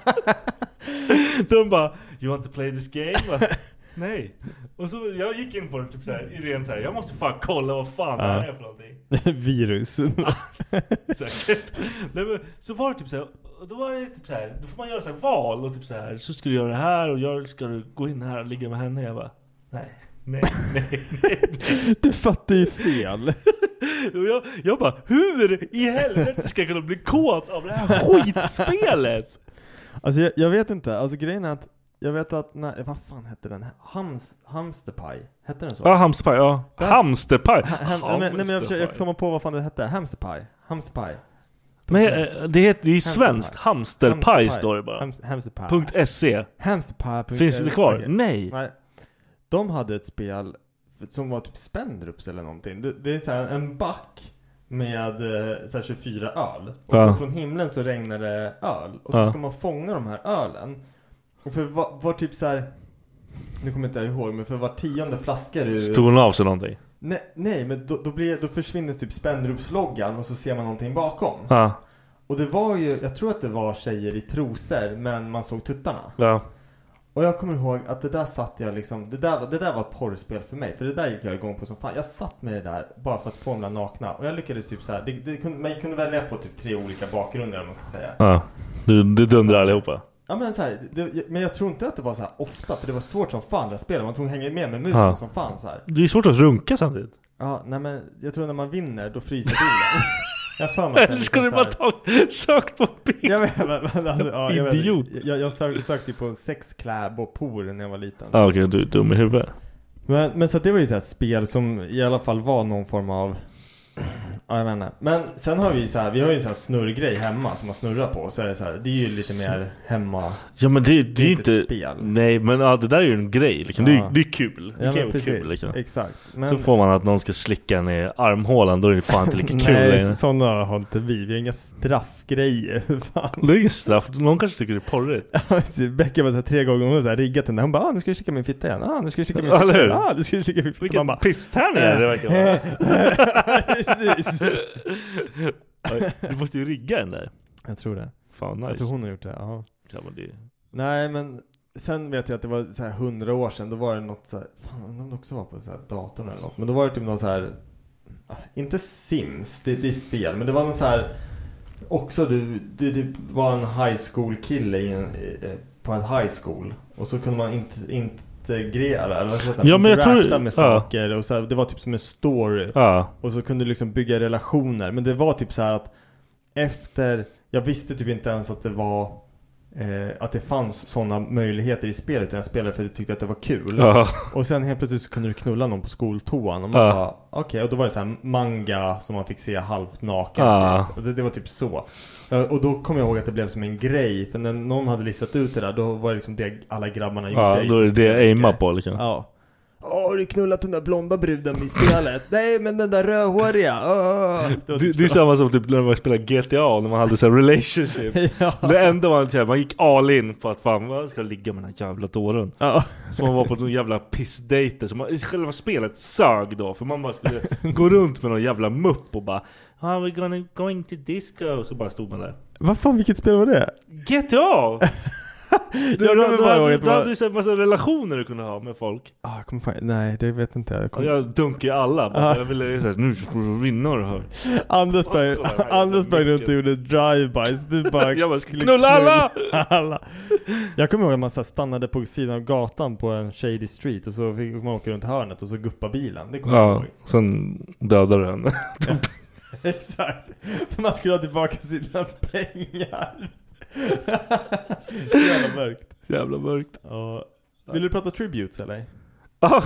Speaker 2: De bara You want to play this game? Nej. Och så jag gick in på det typ så här, i ren så här, jag måste fan kolla vad fan det här
Speaker 5: Ja.
Speaker 2: är för någonting.
Speaker 5: Virus.
Speaker 2: Säkert. Nej, men, så var det typ så här, och då var det typ så här, då får man göra så här val och typ så här, så ska du göra det här och jag ska du gå in här och ligga med henne. Jag bara, nej, nej, nej, nej.
Speaker 5: Du fattar ju fel.
Speaker 2: Och jag, jag bara, hur i helvete ska jag kunna bli kåt av det här skitspelet?
Speaker 5: Alltså jag, jag vet inte, alltså grejen är att jag vet att, när, vad fan hette den? Hams, hamsterpaj? Hette den så?
Speaker 2: Ja, hamsterpaj, ja. Hamsterpaj.
Speaker 5: Ha- Ham, nej, men, nej men jag försöker jag kommer på vad fan det hette, hamsterpaj? Hamsterpaj?
Speaker 2: Men eh, det heter, det är svenskt. Hamsterpaj
Speaker 5: Hamsterpaj.
Speaker 2: står det bara.
Speaker 5: Hams- hamsterpaj.
Speaker 2: Punkt E. SE.
Speaker 5: Hamsterpaj.
Speaker 2: Finns det kvar?
Speaker 5: Okej.
Speaker 2: Nej.
Speaker 5: Nej. De hade ett spel som var typ Spendrups eller någonting. Det, det är så här en back med eh, så här 24 öl. Och
Speaker 2: Ja.
Speaker 5: så från himlen så regnar det öl. Och så
Speaker 2: Ja.
Speaker 5: ska man fånga de här ölen. Och för var, var typ så här. Nu kommer inte jag ihåg men för var tionde flaska du...
Speaker 2: Stod hon av sig någonting?
Speaker 5: Nej, nej men då, då, blir, då försvinner typ Spendrups-loggan och så ser man någonting bakom.
Speaker 2: Ja,
Speaker 5: Och det var ju, jag tror att det var tjejer i trosor men man såg tuttarna.
Speaker 2: ja.
Speaker 5: Och jag kommer ihåg att det där satt jag liksom, det där, var- det där var ett porrspel för mig. För det där gick jag igång på som fan. Jag satt med det där bara för att få dem där nakna. Och jag lyckades typ så här. Det, det kunde, man kunde välja på typ tre olika bakgrunder om man ska säga.
Speaker 2: Ja. Du, du dundrar allihopa.
Speaker 5: Ja men så här, det, men jag tror inte att det var så här ofta. För det var svårt som fan det här spelet. Man var tvungen att hänga med med musen
Speaker 2: Ja.
Speaker 5: som fan så här.
Speaker 2: Det är svårt att runka samtidigt.
Speaker 5: Ja, nej men jag tror när man vinner då fryser bilen. jag har för mig att
Speaker 2: Eller
Speaker 5: den
Speaker 2: skulle du
Speaker 5: liksom så
Speaker 2: bara
Speaker 5: här-
Speaker 2: ta, sökt på bild?
Speaker 5: Jag vet, men, men alltså, ja, jag, vet,
Speaker 2: Idiot.
Speaker 5: jag, jag sök, sökte ju på sexkläb och por när jag var liten.
Speaker 2: Ja Ah, okej, du är dum i huvudet.
Speaker 5: Men, men så att det var ju så här ett spel som i alla fall var någon form av Ja jag vet inte. Men sen har vi så här, vi har ju en sån här snurrgrej hemma som man snurrar på. Så är det så här, det är ju lite mer hemma.
Speaker 2: Ja men det, det är
Speaker 5: inte
Speaker 2: inte...
Speaker 5: ett spel.
Speaker 2: Nej men ja, det där är ju en grej liksom. Det,
Speaker 5: Ja.
Speaker 2: är, det är kul. Det
Speaker 5: Ja,
Speaker 2: kan ju
Speaker 5: men
Speaker 2: vara kul liksom.
Speaker 5: Exakt. Men,
Speaker 2: Så får man att någon ska slicka en i armhålan, då är det fan inte lika kul längre.
Speaker 5: Nej sådana har inte vi. Vi har inga straffgrejer. Fan.
Speaker 2: Det är ingen straff, någon kanske tycker det är porrigt.
Speaker 5: Så Becka var så här tre gånger, hon var så här riggat den där. Hon bara ah, nu ska jag kika min fitta igen. Ah, nu ska jag kika min
Speaker 2: Ja,
Speaker 5: fitta
Speaker 2: eller
Speaker 5: igen.
Speaker 2: hur?
Speaker 5: Ah, nu ska jag kika min fitta.
Speaker 2: Vilken
Speaker 5: Man bara,
Speaker 2: pisstärning det verkar vara.
Speaker 5: Precis.
Speaker 2: Oj, Du måste ju rigga den där.
Speaker 5: Jag tror det.
Speaker 2: Fan
Speaker 5: Jag tror
Speaker 2: nice.
Speaker 5: hon har gjort det. Ja.
Speaker 2: Ja, men det...
Speaker 5: Nej men sen vet jag att det var så här hundra år sedan. Då var det något så här, fan undrar om det också var på så här datorn eller något. Men då var det typ någon så här, ah, inte Sims, det, det är fel. Men det var någon så här, också du, du typ var en high school kille i en, i- eh, på en high school. Och så kunde man inte, integrera eller vad heter det?
Speaker 2: Ja, men jag tror-
Speaker 5: Interacta med
Speaker 2: ja.
Speaker 5: saker. Och så här, det var typ som en story.
Speaker 2: Ja.
Speaker 5: Och så kunde du liksom bygga relationer. Men det var typ så här att efter, jag visste typ inte ens att det var eh, att det fanns sådana möjligheter i spelet. Utan jag spelade för att jag tyckte att det var kul.
Speaker 2: Ja.
Speaker 5: Och sen helt plötsligt så kunde du knulla någon på skoltoan. Och man
Speaker 2: Ja.
Speaker 5: bara, okej. Och då var det så här manga som man fick se halvt naken.
Speaker 2: Ja.
Speaker 5: Typ. Och det, det var typ så. Eh, Och då kommer jag ihåg att det blev som en grej. För när någon hade listat ut det där, då var det liksom det alla grabbarna gjorde.
Speaker 2: ja, då är det det jag aimar på liksom.
Speaker 5: Ja. Åh, har du knullat den där blonda bruden i spelet? Nej, men den där rödhåriga. åh." Det
Speaker 2: Det,
Speaker 5: var typ
Speaker 2: det är
Speaker 5: så.
Speaker 2: samma som typ när man spelade GTA, när man hade så här relationship. Det enda man så här, man gick all in på att fan jag ska ligga med den här jävla dåren. Så man var på någon jävla pissdejter, så man, själva spelet sög då. För man bara skulle gå runt med någon jävla mupp och bara ah, we're gonna going to disco. Så bara stod man där.
Speaker 5: Vad fan, vilket spel var det?
Speaker 2: GTA! Du, du,
Speaker 5: Jag kommer
Speaker 2: du,
Speaker 5: bara ihåg
Speaker 2: hade-
Speaker 5: att det
Speaker 2: du
Speaker 5: var-
Speaker 2: hade ju så här massa relationer du kunde ha med folk.
Speaker 5: Ah, jag kommer fan, nej, det vet inte jag. jag.
Speaker 2: Och
Speaker 5: Kommer...
Speaker 2: jag dunkade ju alla. Bara,
Speaker 5: Ja.
Speaker 2: Jag ville såhär, nu ska du vinna det här.
Speaker 5: Anders sprang, Anders sprang runt och gjorde drive-bys. Du bara,
Speaker 2: Jag bara,
Speaker 5: skulle
Speaker 2: "Knulla alla!"
Speaker 5: alla. Jag kommer ihåg att man så här stannade på sidan av gatan på en shady street och så fick man åka runt hörnet och så guppa bilen. Det kommer jag
Speaker 2: Ja,
Speaker 5: ihåg.
Speaker 2: sen dödade den.
Speaker 5: Exakt. För man skulle ha tillbaka sina pengar. Så jävla mörkt.
Speaker 2: Så jävla mörkt. Ah!
Speaker 5: Ja. Vill du prata tributes eller?
Speaker 2: Ja.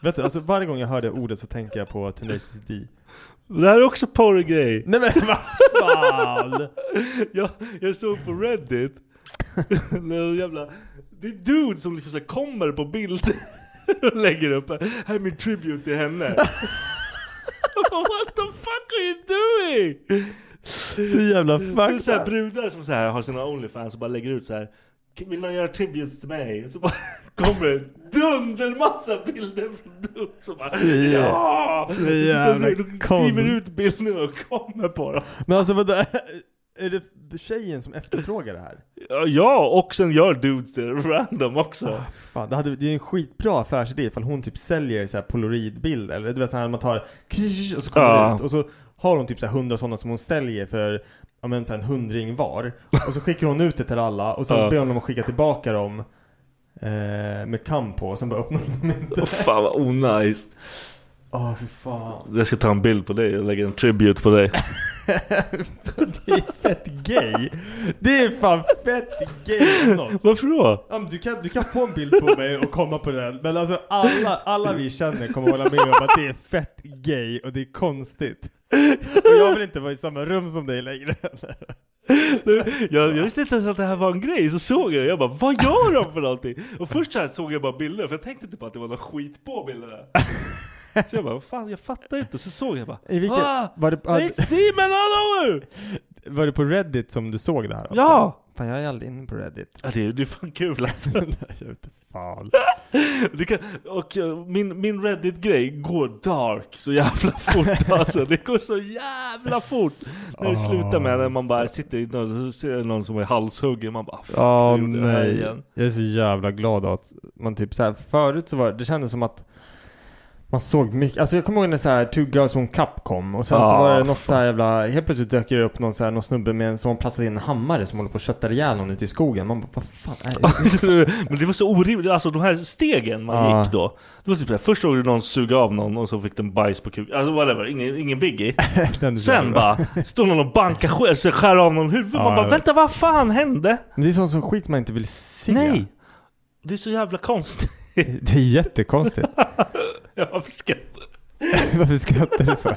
Speaker 5: Vet du, alltså varje gång jag hör det ordet så tänker jag på Tenacious D.
Speaker 2: Det här är också porrgrej.
Speaker 5: Nej men vad fan!
Speaker 2: jag, jag såg på Reddit. Någon jävla, det är dude som liksom så här kommer på bild och lägger upp. Här är min tribute till henne. What the fuck are you doing?
Speaker 5: Så jävla
Speaker 2: Så Mm, typ så här
Speaker 5: fucked
Speaker 2: brudar som så här har sina Onlyfans och bara lägger ut så här. Vill någon göra tributes till mig? Så bara kommer det dundermassa bilder från dude som bara
Speaker 5: Så jä-
Speaker 2: ja!
Speaker 5: så
Speaker 2: Och sitter och
Speaker 5: jävla
Speaker 2: skriver
Speaker 5: kon-
Speaker 2: ut bilderna och kommer på dem.
Speaker 5: Men alltså vadå? Är det tjejen som efterfrågar det här?
Speaker 2: Ja, Ja, och sen gör dudes det random också.
Speaker 5: Fan, det, hade, det är ju en skitbra affärsidé ifall hon typ säljer så här polaroidbilder. Eller du vet såhär man tar ksh, och så kommer
Speaker 2: Ja.
Speaker 5: det ut och så har hon typ så här hundra sådana som hon säljer för ja, men, så här en hundring var. Och så skickar hon ut det till alla och sen
Speaker 2: Ja.
Speaker 5: så ber hon dem att skicka tillbaka dem eh, med kam på och sen bara öppnar hon dem inte.
Speaker 2: Åh fan vad onajs.
Speaker 5: Åh fy fan.
Speaker 2: Jag ska ta en bild på dig och lägga en tribute på dig.
Speaker 5: Det är fett gay. Det är fan fett gay om något.
Speaker 2: Varför då?
Speaker 5: Ja, men du, kan, du kan få en bild på mig och komma på den, men alltså alla, alla vi känner kommer hålla med om att det är fett gay och det är konstigt. Och jag vill inte vara i samma rum som dig längre.
Speaker 2: Jag, jag visste inte ens att det här var en grej, så såg jag det. Jag bara vad gör de för någonting? Och först så här såg jag bara bilder, för jag tänkte typ att det var någon skit på bilderna. Så jag bara vad fan jag fattar inte, så såg jag bara
Speaker 5: I vilket-
Speaker 2: ah,
Speaker 5: var det-
Speaker 2: It's semen all over!
Speaker 5: Var det på Reddit som du såg det här? Också?
Speaker 2: Ja!
Speaker 5: Fan jag är aldrig inne på Reddit.
Speaker 2: Ja, det, är- det är fan kul alltså.
Speaker 5: Jag vet inte fan.
Speaker 2: Det kan, och eh, min, min Reddit-grej går dark så jävla fort alltså. Det går så jävla fort. När det slutar med när man bara sitter i någon, så ser jag någon som är halshuggen. Man bara fuck,
Speaker 5: Ja,
Speaker 2: nu gjorde jag det här
Speaker 5: nej.
Speaker 2: igen.
Speaker 5: Jag är så jävla glad att man typ så här, förut så var det, det kändes som att man såg mycket, alltså jag kommer ihåg när så här Two Girls One Cup kom och sen så
Speaker 2: Ah,
Speaker 5: var det något så här jävla, helt plötsligt dök det upp någon så här, någon snubbe med en, som har platsat in en hammare som håller på att kötta ihjäl någon ute i skogen. Man bara, vad fan är det?
Speaker 2: Men det var så orimligt, alltså de här stegen man
Speaker 5: Ja.
Speaker 2: gick då. Det var typ såhär, först såg du någon suga av någon och så fick den bajs på kuken. Alltså whatever, ingen, ingen biggie.
Speaker 5: Den är så
Speaker 2: Sen
Speaker 5: jävla-
Speaker 2: bara, står någon och bankar själv, så skär av någon huvud.
Speaker 5: Ja,
Speaker 2: man bara
Speaker 5: jag vet.
Speaker 2: vänta vad fan hände?
Speaker 5: Men det är sånt som skit man inte vill se.
Speaker 2: Nej! Det är så jävla konstigt.
Speaker 5: Det är jättekonstigt.
Speaker 2: Ja, Varför ska
Speaker 5: Varför skrattar du för?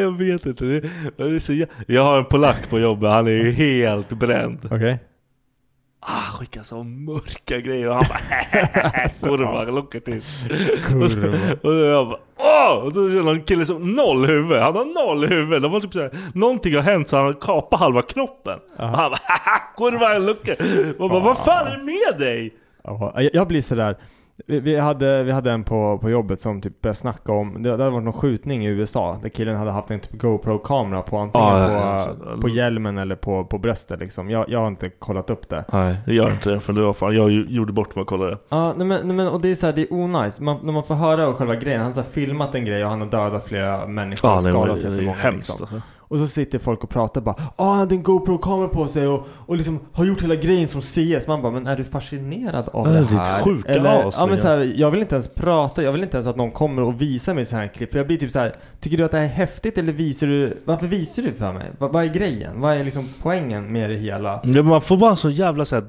Speaker 2: Jag vet inte. Det det är så jä... Jag har en polack på jobbet, han är ju helt bränd.
Speaker 5: Okej.
Speaker 2: Ah, skickar så mörka grejer och han bara kurva, locket in. Och, så,
Speaker 5: Kurva.
Speaker 2: och så jag bara åh! Och då känner jag en kille som noll huvud. Han har noll huvud. Det var typ såhär, någonting har hänt så han kapar halva kroppen. Och han bara kurva, locket. Man bara vad fan är det med dig?
Speaker 5: Ja, jag- jag blir sådär. Vi, vi, hade, vi hade en på, på jobbet som typ började snacka om, det, det hade varit någon skjutning i USA där killen hade haft en typ GoPro-kamera på antingen
Speaker 2: Ja,
Speaker 5: på,
Speaker 2: ja, ja, så-
Speaker 5: på hjälmen eller på, på bröstet liksom. Jag, jag har inte kollat upp det.
Speaker 2: Nej, det gör inte det för det var fan, jag ju- gjorde bort mig och kollade.
Speaker 5: Ja, nej, men, nej, men och det är såhär, det är onajs. Man, när man får höra och själva grejen, han har filmat en grej och han har dödat flera människor och
Speaker 2: det var-
Speaker 5: skadat
Speaker 2: det är
Speaker 5: jättemånga.
Speaker 2: hemskt,
Speaker 5: liksom.
Speaker 2: alltså.
Speaker 5: Och så sitter folk och pratar bara Ah, han hade en GoPro-kamera på sig och, och liksom har gjort hela grejen som CS. Man bara, men är du fascinerad av
Speaker 2: Ja,
Speaker 5: det
Speaker 2: ditt
Speaker 5: här?
Speaker 2: sjuka as,
Speaker 5: ja, men
Speaker 2: liksom.
Speaker 5: så här, jag vill inte ens prata, jag vill inte ens att någon kommer och visar mig så här klipp. För jag blir typ så här, tycker du att det här är häftigt eller visar du, varför visar du för mig? Vad, vad är grejen? Vad är liksom poängen med det hela?
Speaker 2: Ja, men man får bara så jävla såhär,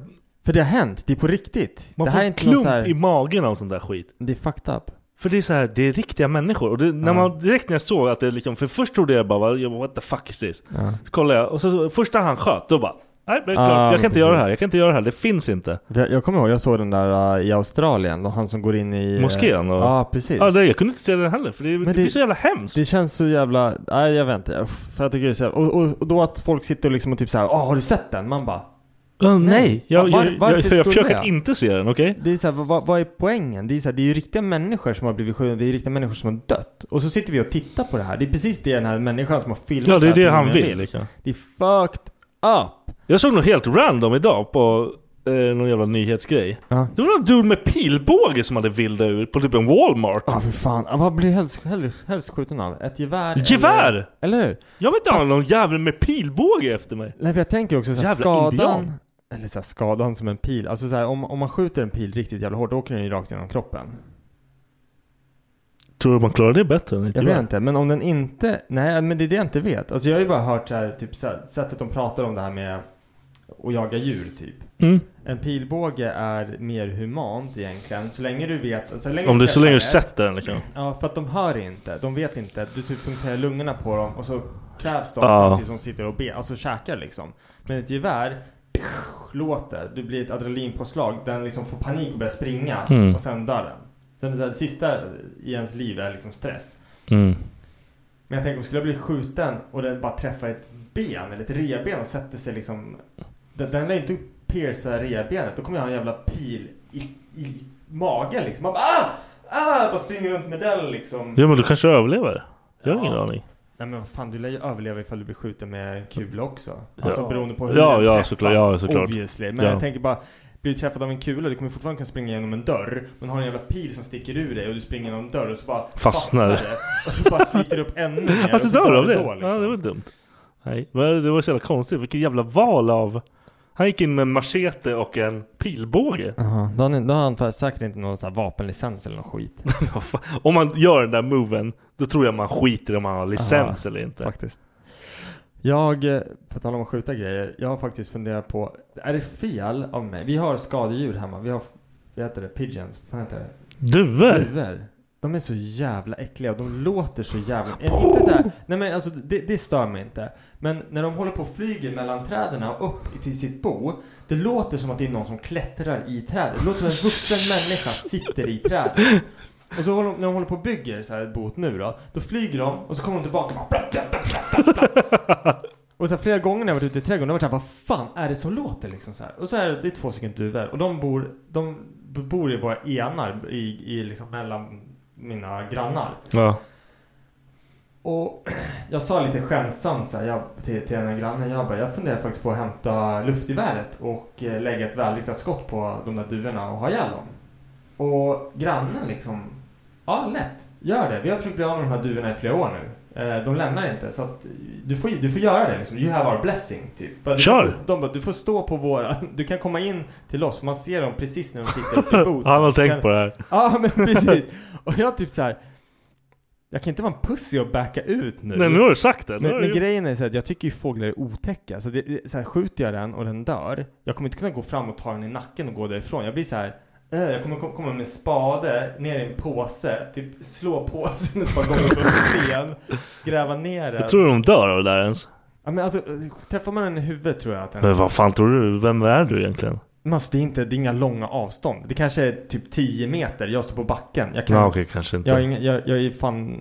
Speaker 5: För det har hänt, det är på riktigt.
Speaker 2: man
Speaker 5: det
Speaker 2: får
Speaker 5: här är
Speaker 2: en
Speaker 5: inte någon
Speaker 2: klump
Speaker 5: så
Speaker 2: i
Speaker 5: här,
Speaker 2: magen av sån där skit.
Speaker 5: det är fucked up.
Speaker 2: För det är så här, det är riktiga människor. Och det, när man, direkt när jag såg att det liksom, för först trodde jag bara "Vad- what the fuck is this? Så kollade jag, och så, så första han sköt, då bara Nej, men klart. jag
Speaker 5: Ah,
Speaker 2: kan inte
Speaker 5: precis.
Speaker 2: göra det här. Jag kan inte göra det här. Det finns inte.
Speaker 5: Jag, jag kommer ihåg, jag såg den där uh, i Australien, och han som går in i... eh,
Speaker 2: Moskén? Och...
Speaker 5: Ja, precis.
Speaker 2: Ja, det, jag kunde inte se den heller, för det, det, blir så jävla hemskt.
Speaker 5: Det känns så jävla, nej jag vet inte. Uff, För jag tycker det är så jävla, och, och, och då att folk sitter och liksom och typ såhär, åh har du sett den? Man bara,
Speaker 2: Ja, nej, jag,
Speaker 5: Var-
Speaker 2: jag, jag, jag,
Speaker 5: varför
Speaker 2: jag
Speaker 5: skulle
Speaker 2: försöker
Speaker 5: jag?
Speaker 2: inte se den, okej?
Speaker 5: det är såhär, vad, vad är poängen? Det är, så här, det är ju riktiga människor som har blivit skjutna, det är riktiga människor som har dött. Och så sitter vi och tittar på det här, det är precis det den här människan som har filmat
Speaker 2: Ja, det är
Speaker 5: här
Speaker 2: det han
Speaker 5: filmen
Speaker 2: vill. Liksom.
Speaker 5: Det är fucked up.
Speaker 2: Jag såg något helt random idag på eh, någon jävla nyhetsgrej. Det var någon dude med pilbåge som hade vilda ur på typ en Walmart.
Speaker 5: Ja, för fan. Ja, Vad blir du helst, helst, helst skjuten av? Ett gevär? eller-
Speaker 2: Gevär!
Speaker 5: Eller hur?
Speaker 2: Jag vill inte ha någon jävel med pilbåge efter mig.
Speaker 5: Nej, för jag tänker också såhär,
Speaker 2: Jävla
Speaker 5: skadan.
Speaker 2: indian.
Speaker 5: Eller såhär, skadan som en pil. Alltså såhär, om, om man skjuter en pil riktigt jävla hårt, då åker den ju rakt genom kroppen.
Speaker 2: Tror du man klarar det bättre än ett
Speaker 5: Jag
Speaker 2: gevär?
Speaker 5: vet inte, men om den inte... Nej, men det är det jag inte vet. Alltså jag har ju bara hört så här, typ så här, sättet de pratar om det här med att jaga djur, typ.
Speaker 2: Mm.
Speaker 5: En pilbåge är mer humant egentligen, så länge du vet... alltså, Så länge
Speaker 2: Om du så
Speaker 5: träffar
Speaker 2: länge du
Speaker 5: rätt.
Speaker 2: sätter den liksom.
Speaker 5: Ja, för att de hör inte, de vet inte. Du typ punkterar lungorna på dem och så krävs de
Speaker 2: Ja.
Speaker 5: samtidigt som de sitter och ber, alltså käkar liksom. Men ett gevär låter, du blir ett adrenalinpåslag, den liksom får panik och börjar springa
Speaker 2: Mm.
Speaker 5: och sen dör den. Sen det där sista i ens liv är liksom stress.
Speaker 2: Mm.
Speaker 5: Men jag tänker om skulle jag bli skjuten och den bara träffar ett ben eller ett revben och sätter sig liksom Den, den lär ju inte pierca revbenet, då kommer jag ha en jävla pil i, i magen liksom. Man bara ah! Ah! Bara springer runt med den liksom.
Speaker 2: Ja men du kanske överlever? Jag har ingen aning.
Speaker 5: Nej men vad fan, du lär ju överleva ifall du blir skjuten med en kula också. Alltså
Speaker 2: Ja.
Speaker 5: beroende på hur
Speaker 2: Ja,
Speaker 5: den
Speaker 2: ja,
Speaker 5: träffas,
Speaker 2: såklart, ja, såklart.
Speaker 5: Obviously. Men
Speaker 2: Ja.
Speaker 5: jag tänker bara, blir du träffad av en kula, du kommer fortfarande kunna springa genom en dörr. Men har en jävla pil som sticker ur dig och du springer genom en dörr och så bara
Speaker 2: Fastnar.
Speaker 5: det. Och så bara sliter du upp ännu mer. och
Speaker 2: Alltså
Speaker 5: så
Speaker 2: dör av
Speaker 5: du
Speaker 2: det?
Speaker 5: då, liksom.
Speaker 2: Ja det var dumt. Nej, men det var så jävla konstigt. Vilket jävla val av... Han gick in med en machete och en pilbåge.
Speaker 5: Jaha, då har, ni, då har han för- säkert inte någon sån här vapenlicens eller någon skit.
Speaker 2: Vad fan. Om man gör den där moven, då tror jag man skiter om man har licens eller inte.
Speaker 5: Faktiskt. Jag, eh, på tal om att skjuta grejer, jag har faktiskt funderat på, är det fel av mig? Vi har skadedjur hemma, vi har, vad heter det, pigeons? Vad heter det?
Speaker 2: Duvor.
Speaker 5: Duvor. De är så jävla äckliga och de låter så jävla... Inte så här, nej men alltså det, det stör mig inte. Men när de håller på och flyger mellan träden och upp till sitt bo. Det låter som att det är någon som klättrar i trädet. Det låter som en vuxen människa sitter i trädet. Och så håller, de- när de håller på och bygger så här ett bot nu då. Då flyger de och så kommer de tillbaka och bara... Och så här, flera gånger när jag varit ute i trädgården, då har jag varit såhär, vad fan är det som låter liksom så här? Och så är det, det är två stycken duvor och de bor, de b- bor i våra enar i, i liksom mellan mina grannar.
Speaker 2: Ja.
Speaker 5: Och jag sa lite skämtsamt så här, jag, till, till den här grannen, jag bara, jag funderar faktiskt på att hämta luftgeväret och eh, lägga ett välriktat skott på de där duvorna och ha ihjäl dem. Och grannen liksom, ja lätt, gör det. Vi har försökt bli av med de här duvorna i flera år nu. Eh, De lämnar inte, så att du får, du får göra det liksom. You have our blessing, typ. Bara, du-
Speaker 2: Kör!
Speaker 5: De bara, du får stå på våra, du kan komma in till oss, för man ser dem precis när de sitter uppe i bot.
Speaker 2: Han har
Speaker 5: Så
Speaker 2: tänkt
Speaker 5: kan-
Speaker 2: på det här.
Speaker 5: Ja, men precis. Och jag typ så här. Jag kan inte vara en pussy och backa ut nu.
Speaker 2: Nej, nu har du sagt det. Nu
Speaker 5: Men,
Speaker 2: har
Speaker 5: men
Speaker 2: du-
Speaker 5: grejen är så att jag tycker ju fåglar är otäcka. Så, det- det, så här, skjuter jag den och den dör, jag kommer inte kunna gå fram och ta den i nacken och gå därifrån. Jag blir så här. "Eh, Jag kommer kom- komma med spade ner i en påse, typ slå påsen ett par gånger på en sten, gräva ner den.
Speaker 2: Jag tror de dör av det där ens.
Speaker 5: Ja, men alltså, eh, träffar man den i huvudet tror jag att den...
Speaker 2: Men vad fan tror du? Vem är du egentligen?
Speaker 5: Men alltså, det, är inte, det är inga långa avstånd. Det kanske är typ 10 meter, jag står på backen. Jag kan...
Speaker 2: Ja, okej, kanske inte.
Speaker 5: Jag, har inga, jag, jag är fan... Jag,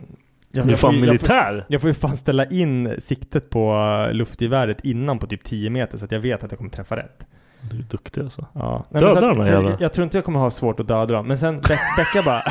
Speaker 2: Du är
Speaker 5: jag får
Speaker 2: fan
Speaker 5: ju- Jag
Speaker 2: militär.
Speaker 5: får, jag får ju fan ställa in siktet på eh, luftgeväret innan på typ 10 meter så att jag vet att jag kommer träffa rätt.
Speaker 2: Du är duktig alltså.
Speaker 5: Ja. Nej, men så
Speaker 2: Döda
Speaker 5: att-
Speaker 2: de här
Speaker 5: så
Speaker 2: jävlarna.
Speaker 5: jag, jag tror inte jag kommer ha svårt att döda dem. Men sen Be- Becka bara...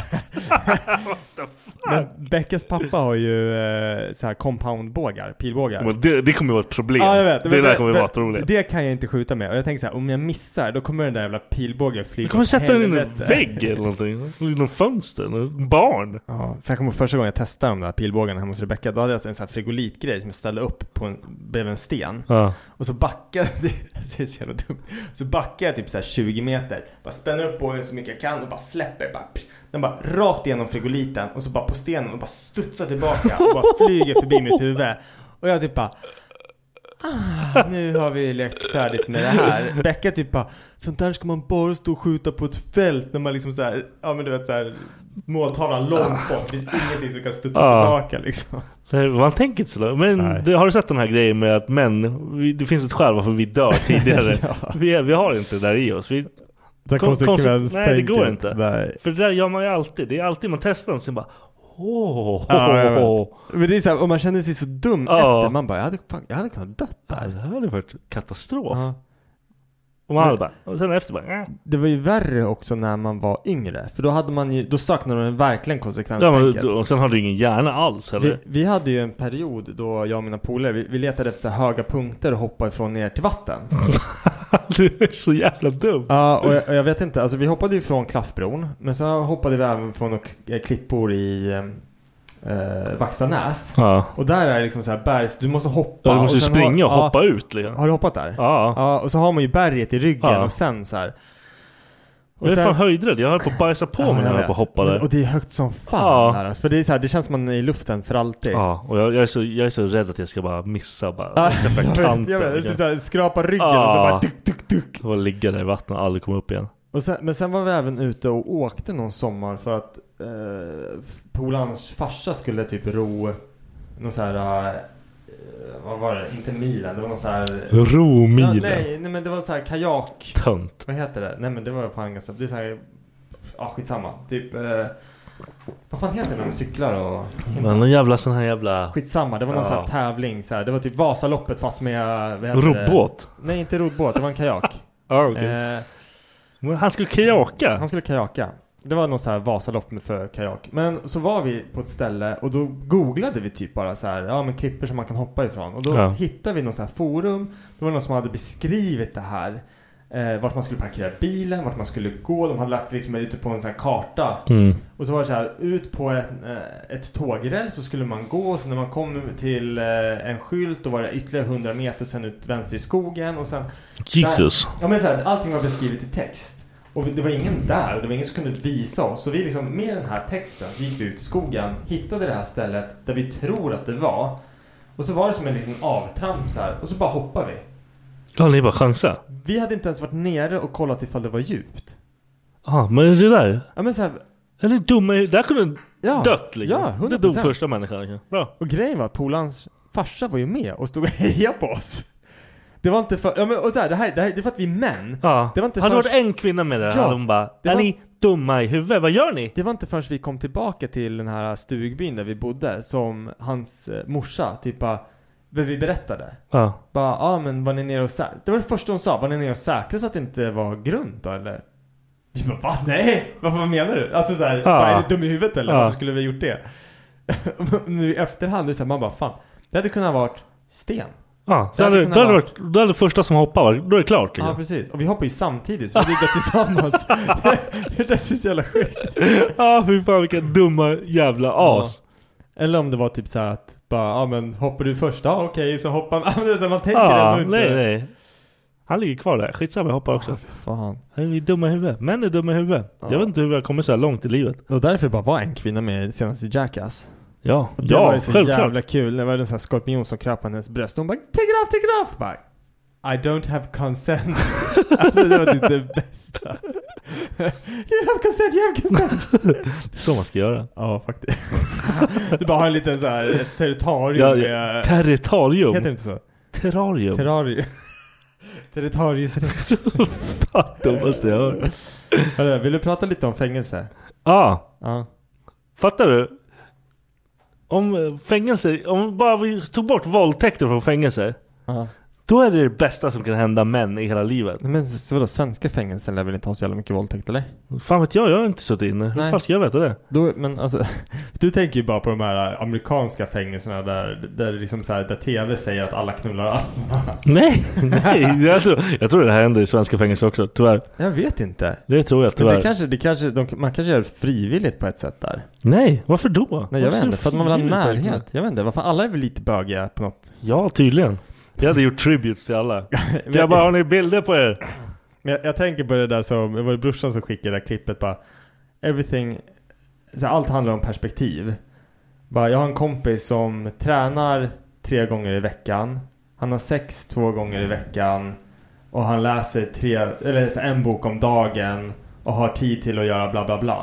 Speaker 5: men Beckas pappa har ju eh, så här compoundbågar, pilbågar.
Speaker 2: Men Det, det kommer ju vara ett problem.
Speaker 5: Ja, jag vet.
Speaker 2: Det
Speaker 5: Men
Speaker 2: där kommer ju
Speaker 5: men-
Speaker 2: vara ett problem.
Speaker 5: Det kan jag inte skjuta med. Och jag tänker så här, om jag missar då kommer den där jävla pilbågen flyga
Speaker 2: Du kommer
Speaker 5: åt
Speaker 2: sätta den i en
Speaker 5: helvete.
Speaker 2: vägg eller någonting. I någon fönster. någon Barn.
Speaker 5: Ja, för jag kommer ihåg första gången jag testade de där pilbågarna hemma hos Rebecca. Då hade jag en sån här frigolitgrej som jag ställde upp på en, bredvid en sten.
Speaker 2: Ja.
Speaker 5: Och så backade, det är så jävla dumt. Så backade jag typ så här 20 meter. Bara spänner upp bågen så mycket jag kan och bara släpper. Bara, pff. den bara rakt igenom frigoliten och så bara på stenen och bara studsar tillbaka och bara flyger förbi mitt huvud. Och jag typ bara ah, nu har vi lekt färdigt med det här. Becka typ bara, sånt där ska man bara stå och skjuta på ett fält när man liksom så här, ja men du vet så här, måltavlan långt bort, det finns ingenting som kan studsa tillbaka liksom.
Speaker 2: Nej, Man tänker inte sådär. Men du, har du sett den här grejen med att män, vi, det finns ett skäl varför vi dör tidigare. vi, är- vi har inte det där i oss. Vi,
Speaker 5: Det är
Speaker 2: kon-
Speaker 5: konsekvenstänket.
Speaker 2: Nej det går inte.
Speaker 5: Nej.
Speaker 2: För det där gör man ju alltid. Det är alltid man testar och sen bara åh.
Speaker 5: Ja, jag vet. Men det är så här, och man känner sig så dum
Speaker 2: Ja.
Speaker 5: efter. Man bara, jag hade, fan, jag hade kunnat dött där.
Speaker 2: det hade varit katastrof.
Speaker 5: Ja.
Speaker 2: Och man hade
Speaker 5: Men-
Speaker 2: bara, och sen efter bara, äh.
Speaker 5: Det var ju värre också när man var yngre. För då hade man ju, då saknade man verkligen
Speaker 2: ja, men,
Speaker 5: konsekvenstänket.
Speaker 2: då- och sen har du ingen hjärna alls
Speaker 5: vi,
Speaker 2: heller.
Speaker 5: vi hade ju en period då jag och mina polare, vi, vi letade efter höga punkter och hoppade ifrån ner till vatten.
Speaker 2: du är så jävla dum.
Speaker 5: Ja, och jag, och jag vet inte, alltså vi hoppade ju från Klaffbron. Men sen hoppade vi även från några k- eh, klippor i eh, Vaxtanäs.
Speaker 2: Ja.
Speaker 5: Och där är det liksom så här berg, så du måste hoppa.
Speaker 2: Ja, du måste
Speaker 5: och
Speaker 2: ju
Speaker 5: sen
Speaker 2: springa och
Speaker 5: ja,
Speaker 2: hoppa ut liksom.
Speaker 5: Har du hoppat där?
Speaker 2: Ja.
Speaker 5: ja och så har man ju berget i ryggen
Speaker 2: Ja.
Speaker 5: och sen så här.
Speaker 2: Jag är fan höjdrädd. Jag höll på att bajsa på mig när jag höll på att hoppa
Speaker 5: Men-
Speaker 2: där.
Speaker 5: Och det är högt som fan
Speaker 2: Ja.
Speaker 5: där alltså. För det är så här, det känns som man är i luften för alltid.
Speaker 2: Ja, och jag, jag, är så, jag är så rädd att jag ska bara missa bara.
Speaker 5: Ja,
Speaker 2: träffa
Speaker 5: jag vet,
Speaker 2: kanten,
Speaker 5: jag vet.
Speaker 2: liksom.
Speaker 5: Typ så här, skrapa ryggen och så
Speaker 2: Ja.
Speaker 5: bara tuk, tuk, tuk.
Speaker 2: Och bara ligga där i vattnet och aldrig komma upp igen.
Speaker 5: Och sen, men sen var vi även ute och åkte någon sommar för att eh, polarns farsa skulle typ ro någon så här, eh, vad var det? Inte milen, det var någon så här...
Speaker 2: Romilen.
Speaker 5: Ja, nej, nej, men det var så här kajak...
Speaker 2: Tönt.
Speaker 5: Vad heter det? Nej men det var fan ganska... Det är så här... Ja, skitsamma. Typ... Eh, vad fan heter det när de cyklar och...
Speaker 2: Men någon jävla sån här jävla...
Speaker 5: Skitsamma, det var någon
Speaker 2: Ja.
Speaker 5: sån här tävling så här. Det var typ Vasaloppet fast med... vad heter det?
Speaker 2: Robot?
Speaker 5: Nej inte roddbåt, det var en kajak.
Speaker 2: Ja, okej. Men han skulle kajaka?
Speaker 5: Eh. Han skulle kajaka. Det var någon så här Vasalopp med- för kajak. Men så var vi på ett ställe och då googlade vi typ bara så här, ja men klippor som man kan hoppa ifrån. Och då
Speaker 2: Ja.
Speaker 5: hittade vi någon så här forum. Då var det någon som hade beskrivit det här. Eh, vart man skulle parkera bilen, vart man skulle gå. De hade lagt liksom ute på en sån här karta.
Speaker 2: Mm.
Speaker 5: Och så var det så här, ut på ett, eh, ett tågräls så skulle man gå. Och sen när man kom till eh, en skylt då var det ytterligare 100 meter. Sen ut vänster i skogen och sen...
Speaker 2: Jesus.
Speaker 5: Där, ja men så här, allting var beskrivet i text. Och vi- det var ingen där och det var ingen som kunde visa oss. Så vi liksom, med den här texten så gick vi ut i skogen, hittade det här stället där vi tror att det var. Och så var det som en liten avtramp så här, och så bara hoppade vi.
Speaker 2: Ja, ni bara chansa.
Speaker 5: Vi hade inte ens varit nere och kollat ifall det var djupt.
Speaker 2: Ja, men det där.
Speaker 5: Ja men så här,
Speaker 2: Eller dumma i- Där kunde du
Speaker 5: ja,
Speaker 2: dött liksom.
Speaker 5: Ja, 100%.
Speaker 2: Det dog första människan. liksom. Bra.
Speaker 5: Och grejen var att polans farsa var ju med och stod och hejade på oss. Det var inte för, ja men och så här, det här, det här, det är för att vi är män.
Speaker 2: Ja.
Speaker 5: Det var inte
Speaker 2: hade det
Speaker 5: först-
Speaker 2: varit en kvinna med det
Speaker 5: Ja.
Speaker 2: ja. hade hon bara
Speaker 5: Det
Speaker 2: Är
Speaker 5: var-
Speaker 2: ni dumma i huvudet? Vad gör ni?
Speaker 5: Det var inte förrän vi kom tillbaka till den här stugbyn där vi bodde som hans eh, morsa typ bara, vad vi berättade.
Speaker 2: Ja.
Speaker 5: Bara, ja ah, men var ni nere och sä-? Det var det första hon sa, var ni nere och säkrade så att det inte var grunt då eller? Vi bara, va? Nej! Vad fan menar du? Alltså såhär,
Speaker 2: Ja.
Speaker 5: bara, är du dum i huvudet eller?
Speaker 2: Ja.
Speaker 5: Varför skulle vi ha gjort det? nu i efterhand, det är så här, man bara, fan. Det hade kunnat ha varit sten.
Speaker 2: Ja,
Speaker 5: Det
Speaker 2: så
Speaker 5: hade
Speaker 2: hade,
Speaker 5: kunnat
Speaker 2: då, hade
Speaker 5: vara-
Speaker 2: varit, då hade första som hoppar varit- då är det klart
Speaker 5: Ja
Speaker 2: liksom.
Speaker 5: precis, och vi hoppar ju samtidigt så vi ligger tillsammans. det där är så jävla sjukt.
Speaker 2: Ja, fy fan vilka dumma jävla as.
Speaker 5: Eller om det var typ så här att bara, ja men hoppar du först? Ja okej, så hoppar man. Ja, men man tänker
Speaker 2: Ja,
Speaker 5: ändå inte.
Speaker 2: nej nej. Han ligger kvar där. Skitsamma, jag hoppar också.
Speaker 5: Fan.
Speaker 2: Nej, Vi är dumma i huvudet. Män är dumma i huvudet. Jag vet inte hur jag kommer så här långt i livet.
Speaker 5: Och därför bara var en kvinna med senast i Jackass.
Speaker 2: Ja,
Speaker 5: Och det
Speaker 2: ja
Speaker 5: var ju så
Speaker 2: självklart.
Speaker 5: jävla kul. Det var en sån här skorpion som kröp på hennes bröst. Hon bara take it off, take it off! Bara, I don't have consent. alltså det var typ det bästa. you have consent, you have consent!
Speaker 2: Det är så man ska göra.
Speaker 5: ja faktiskt. du bara har en liten så här, ett
Speaker 2: Ja,
Speaker 5: territorium
Speaker 2: ja.
Speaker 5: med...
Speaker 2: Territorium.
Speaker 5: Heter det inte så?
Speaker 2: Terrarium.
Speaker 5: Terrarium. Territorius rex.
Speaker 2: Fan, dummaste jag hört.
Speaker 5: Hörru, vill du prata lite om fängelse?
Speaker 2: Ja.
Speaker 5: Ja.
Speaker 2: Fattar du? Om eh, fängelse, om bara vi tog bort våldtäkter från fängelse.
Speaker 5: Ja.
Speaker 2: Då är det det bästa som kan hända män i hela livet.
Speaker 5: Men så vadå, svenska fängelser lär väl inte ha så jävla mycket våldtäkt eller?
Speaker 2: Fan vet jag, jag har inte suttit inne. Hur
Speaker 5: Nej.
Speaker 2: fan ska jag veta det?
Speaker 5: Då, men alltså, du tänker ju bara på de här äh, amerikanska fängelserna där, där, det liksom så här, där TV säger att alla knullar alla.
Speaker 2: Nej, nej. Jag tror, jag tror det här händer i svenska fängelser också, tyvärr.
Speaker 5: Jag vet inte.
Speaker 2: Det tror jag
Speaker 5: Men
Speaker 2: tyvärr.
Speaker 5: det kanske, det kanske, de, man kanske gör det frivilligt på ett sätt där.
Speaker 2: Nej, varför då?
Speaker 5: Nej jag
Speaker 2: Varför
Speaker 5: vet
Speaker 2: är
Speaker 5: inte,
Speaker 2: det
Speaker 5: för att man vill ha
Speaker 2: frivilligt verkligen?
Speaker 5: närhet. Jag vet inte, varför alla är väl lite bögiga på något.
Speaker 2: Ja, tydligen. Jag hade gjort tributes till alla. Jag bara, har ni bilder på er?
Speaker 5: Men jag, jag tänker på det där som, det var det brorsan som skickade det där klippet bara Everything, så här, allt handlar om perspektiv. Bara, jag har en kompis som tränar tre gånger i veckan. Han har sex två gånger i veckan. Och han läser tre, eller så en bok om dagen. Och har tid till att göra bla bla bla.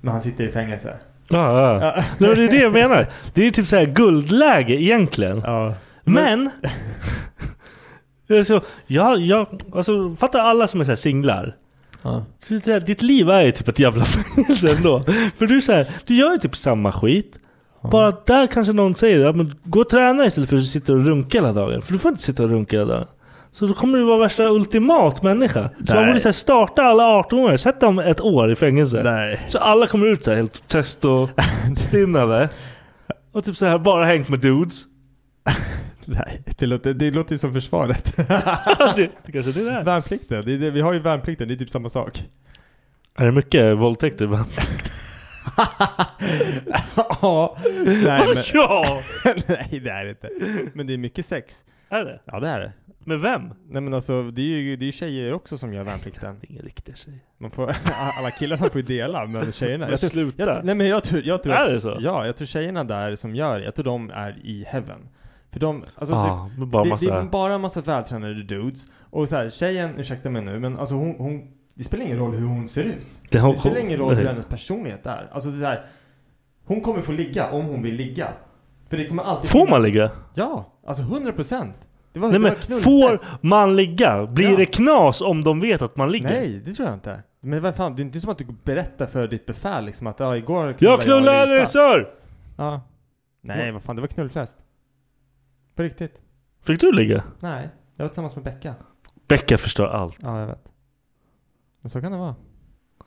Speaker 5: Men han sitter i fängelse.
Speaker 2: Ja, ja.
Speaker 5: Ja.
Speaker 2: Nej, men det är det jag menar. Det är ju typ så här guldläge egentligen. Men... alltså, jag, jag, alltså, fattar alla som är så här singlar. Så det där, Ditt liv är ju typ ett jävla fängelse ändå. För du, är så här, du gör ju typ samma skit. Bara att där kanske någon säger ja, men gå och träna istället för att sitta och runka hela dagen. För du får inte sitta och runka hela dagen. Så då kommer du vara värsta ultimat människa. Så man
Speaker 9: Nej.
Speaker 2: borde så här, starta alla 18-åringar, sätt dem ett år i fängelse. Så alla kommer ut så här, helt testostinnade. och typ så här bara hängt med dudes.
Speaker 5: Nej, det låter, det låter ju som försvaret.
Speaker 2: det, kanske det är.
Speaker 5: Värnplikten, det är det, vi har ju värnplikten, det är typ samma sak.
Speaker 2: Är det mycket våldtäkter? va?
Speaker 5: ja. Nej, men...
Speaker 2: Ja!
Speaker 5: Nej det är det inte. Men det är mycket sex.
Speaker 2: Är det?
Speaker 5: Ja det är det.
Speaker 2: Med vem?
Speaker 5: Nej men alltså det är ju det är ju tjejer också som gör värnplikten. Det
Speaker 2: är ingen riktig tjej.
Speaker 5: Man får, alla killarna får ju dela men tjejerna.
Speaker 2: Men
Speaker 5: jag tror-
Speaker 2: sluta.
Speaker 5: Jag, nej men jag tror, jag tror
Speaker 2: Är
Speaker 5: också-
Speaker 2: det så?
Speaker 5: Ja, jag tror tjejerna där som gör det, jag tror de är i heaven. För de, alltså
Speaker 2: Ja,
Speaker 5: typ,
Speaker 2: men Ah, bara
Speaker 5: det, det
Speaker 2: massa-
Speaker 5: är bara en massa vältränade dudes. Och så här, tjejen, ursäkta mig nu, men alltså hon, hon det spelar ingen roll hur hon ser ut.
Speaker 2: Det
Speaker 5: Det,
Speaker 2: har-
Speaker 5: spelar ingen roll hur
Speaker 2: nej.
Speaker 5: hennes personlighet är. Alltså det är så här, hon kommer få ligga om hon vill ligga. För det kommer alltid
Speaker 2: Får man ligga?
Speaker 5: Ja, alltså 100 procent. Det var,
Speaker 2: Nej,
Speaker 5: det
Speaker 2: men
Speaker 5: var knullfest.
Speaker 2: får man ligga? Blir det knas om de vet att man ligger?
Speaker 5: Nej, det tror jag inte. Men vad fan, det är inte som att du berättar för ditt befäl liksom att ja, igår
Speaker 2: Jag knullar
Speaker 5: Lisa."
Speaker 2: Elisar!
Speaker 5: Ja. Nej, vad fan, det var knullfest. På riktigt.
Speaker 2: Fick du ligga?
Speaker 5: Nej, jag var tillsammans med Becka.
Speaker 2: Becka förstör allt.
Speaker 5: Ja, jag vet. Men så kan det vara.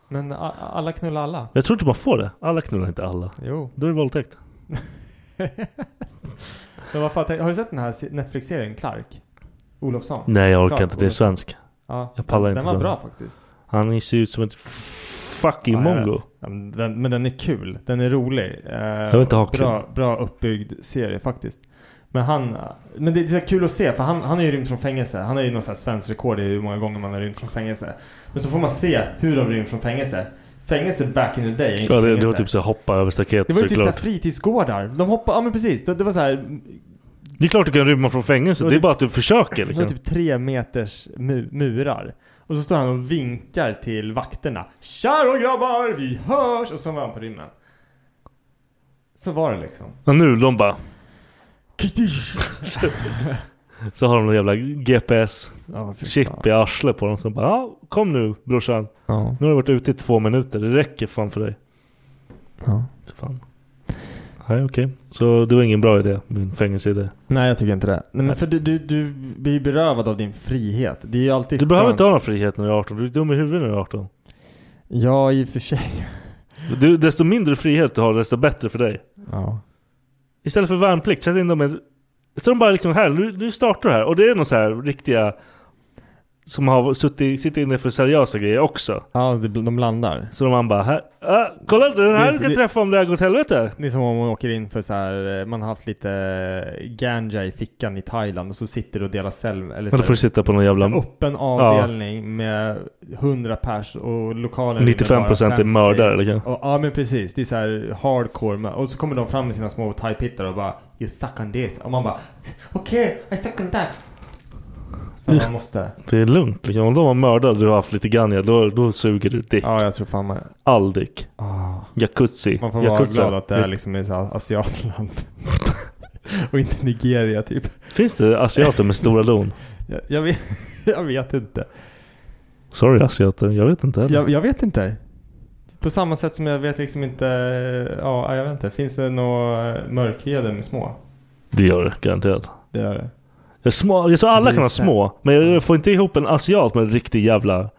Speaker 5: Men a- a- alla knullar alla.
Speaker 2: Jag tror inte man får det. Alla knullar inte alla.
Speaker 5: Jo.
Speaker 2: Då är det våldtäkt.
Speaker 5: Men vad fan, tänk- har du sett den här se- Netflix-serien Clark? Olofsson?
Speaker 2: Nej jag orkar
Speaker 5: Clark
Speaker 2: inte. Det är
Speaker 5: Olofsson.
Speaker 2: svensk.
Speaker 5: Ja,
Speaker 2: jag pallar
Speaker 5: den-
Speaker 2: inte
Speaker 5: Den var
Speaker 2: sådana.
Speaker 5: bra faktiskt.
Speaker 2: Han ser ut som ett fucking
Speaker 5: Ja, jag
Speaker 2: mongo.
Speaker 5: vet. Ja, men Den, men den är kul. Den är rolig. Eh,
Speaker 2: vill inte ha
Speaker 5: bra, bra uppbyggd serie faktiskt. Men han... eh, Men det är så här kul att se för han, han har ju rymt från fängelse. Han har ju något så här svenskt rekord i hur många gånger man har rymt från fängelse. Men så får man se hur de rymt från fängelse. Fängelse back in the day är inte
Speaker 2: Ja, det, det
Speaker 5: fängelse.
Speaker 2: var typ så här, hoppa över staket
Speaker 5: det var ju typ så här
Speaker 2: såklart.
Speaker 5: fritidsgårdar. De hoppade... Ja men precis. Det, det var så här...
Speaker 2: det är klart du kan rymma från fängelse.
Speaker 5: Det var
Speaker 2: Det, är
Speaker 5: typ-
Speaker 2: bara att du försöker
Speaker 5: Det var
Speaker 2: liksom.
Speaker 5: typ tre meters mu- murar. Och så står han och vinkar till vakterna. Tja då grabbar, vi hörs! Och så var han på rymmen. Så var det liksom.
Speaker 2: Och nu de bara... så, så har de någon jävla
Speaker 5: Ja, fy
Speaker 2: GPS-chip i arslet på dem som bara ja, kom nu brorsan.
Speaker 5: Ja.
Speaker 2: Nu har du varit ute i två minuter. Det räcker fan för dig.
Speaker 5: Ja.
Speaker 2: Så fan. Nej okej. Så det var ingen bra idé. Min fängelseidé.
Speaker 5: Nej jag tycker inte det. Nej, men för du, du, du blir berövad av din frihet. Det är ju alltid
Speaker 2: Du behöver
Speaker 5: skönt.
Speaker 2: inte ha någon frihet när du är 18. Du är dum i huvudet när du är 18.
Speaker 5: Ja i och för sig.
Speaker 2: Du, desto mindre frihet du har, desto bättre för dig.
Speaker 5: Ja.
Speaker 2: Istället för värnplikt, sätt in dem i... Så de bara liksom här, nu, nu startar du här. Och det är någon så här riktiga... Som har suttit, sitter inne för seriösa grejer också.
Speaker 5: Ja, det- de landar.
Speaker 2: Så de bara här... Ah, kolla, den här
Speaker 5: Det är-
Speaker 2: du kan
Speaker 5: det-
Speaker 2: träffa om det har gått helvete.
Speaker 5: Det är som om man åker in för så här, eh, man har haft lite eh, ganja i fickan i Thailand och så sitter du och delar cell. Eller
Speaker 2: Men då
Speaker 5: så-
Speaker 2: får du sitta på någon jävla-
Speaker 5: så här öppen avdelning med 100 pers och lokalen
Speaker 2: 95% är mördare, liksom.
Speaker 5: Och, ja men precis, det är så här hardcore. mö- Och så kommer de fram med sina små thai-pittar och bara You suck on this. Och man bara Okej, I suck on that. Ja, man måste.
Speaker 2: Det är lugnt liksom. Om de har mördat och du har haft lite ganja, då, då suger du dick.
Speaker 5: Ja, jag tror fan man...
Speaker 2: All dick. Jacuzzi.
Speaker 5: Man får vara
Speaker 2: Jacuzzi.
Speaker 5: glad att det är liksom ett asiatland. och inte Nigeria typ.
Speaker 2: Finns det asiater med stora don?
Speaker 5: Jag, jag, vet, jag vet inte.
Speaker 2: Sorry asiater, jag vet inte heller.
Speaker 5: Jag, jag vet inte. På samma sätt som jag vet liksom inte, ja jag vet inte. Finns det några mörkhyade med små?
Speaker 2: Det gör det, garanterat.
Speaker 5: Det gör det.
Speaker 2: Jag, små, jag tror alla
Speaker 5: Det
Speaker 2: kan
Speaker 5: är
Speaker 2: ha
Speaker 5: så-
Speaker 2: små, men jag får inte ihop en asiat med en riktig jävla...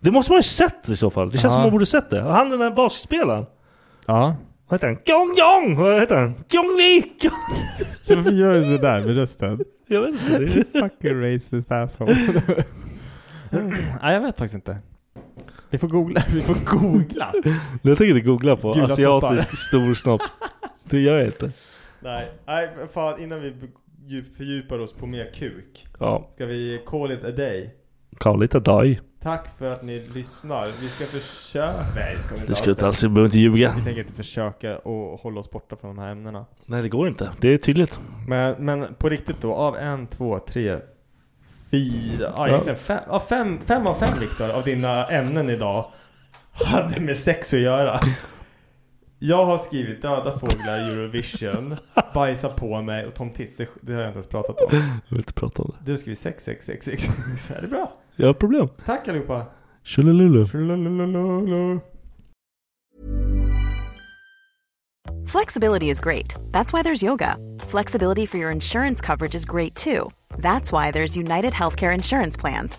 Speaker 2: Det måste man ju sett i så fall. Det känns
Speaker 5: Ja.
Speaker 2: som man borde sett det. Han den där basketspelaren.
Speaker 5: Ja.
Speaker 2: Vad heter han? Gong Gong! Vad heter han? Gong Li! Gong-
Speaker 5: Varför gör du sådär med rösten?
Speaker 2: Jag vet inte. Det är-
Speaker 5: Fucking racist asshole. Nej jag vet faktiskt inte. Vi får googla. Vi får googla.
Speaker 2: Jag tänker inte googla på
Speaker 5: Gula
Speaker 2: asiatisk stor snopp. Det gör jag inte.
Speaker 5: Nej, nej fan innan vi djup- fördjupar oss på mer kuk.
Speaker 2: Ja.
Speaker 5: Ska vi call it a day?
Speaker 2: Call it a die.
Speaker 5: Tack för att ni lyssnar. Vi ska försöka... Nej, det ska vi inte
Speaker 2: Det ska vi inte alls. Vi behöver inte ljuga.
Speaker 5: Vi tänker inte försöka och hålla oss borta från de här ämnena.
Speaker 2: Nej det går inte. Det är tydligt.
Speaker 5: Men, men på riktigt då, av en, två, tre, fyra, ja, egentligen fem, ja, fem, fem av fem Viktor av dina ämnen idag hade med sex att göra. Jag har skrivit döda fåglar, Eurovision, bajsa på mig och Tom Tits, det, det har jag inte ens pratat om.
Speaker 2: Jag vill inte prata om det.
Speaker 5: Du har skrivit sex, sex, sex, sex. Så är det bra.
Speaker 2: Jag har problem.
Speaker 5: Tack allihopa.
Speaker 2: Tjolilulu.
Speaker 5: Tjolilulu.
Speaker 10: Flexibility is great. That's why there's yoga. Flexibility for your insurance coverage is great too. That's why there's United Healthcare Insurance Plans.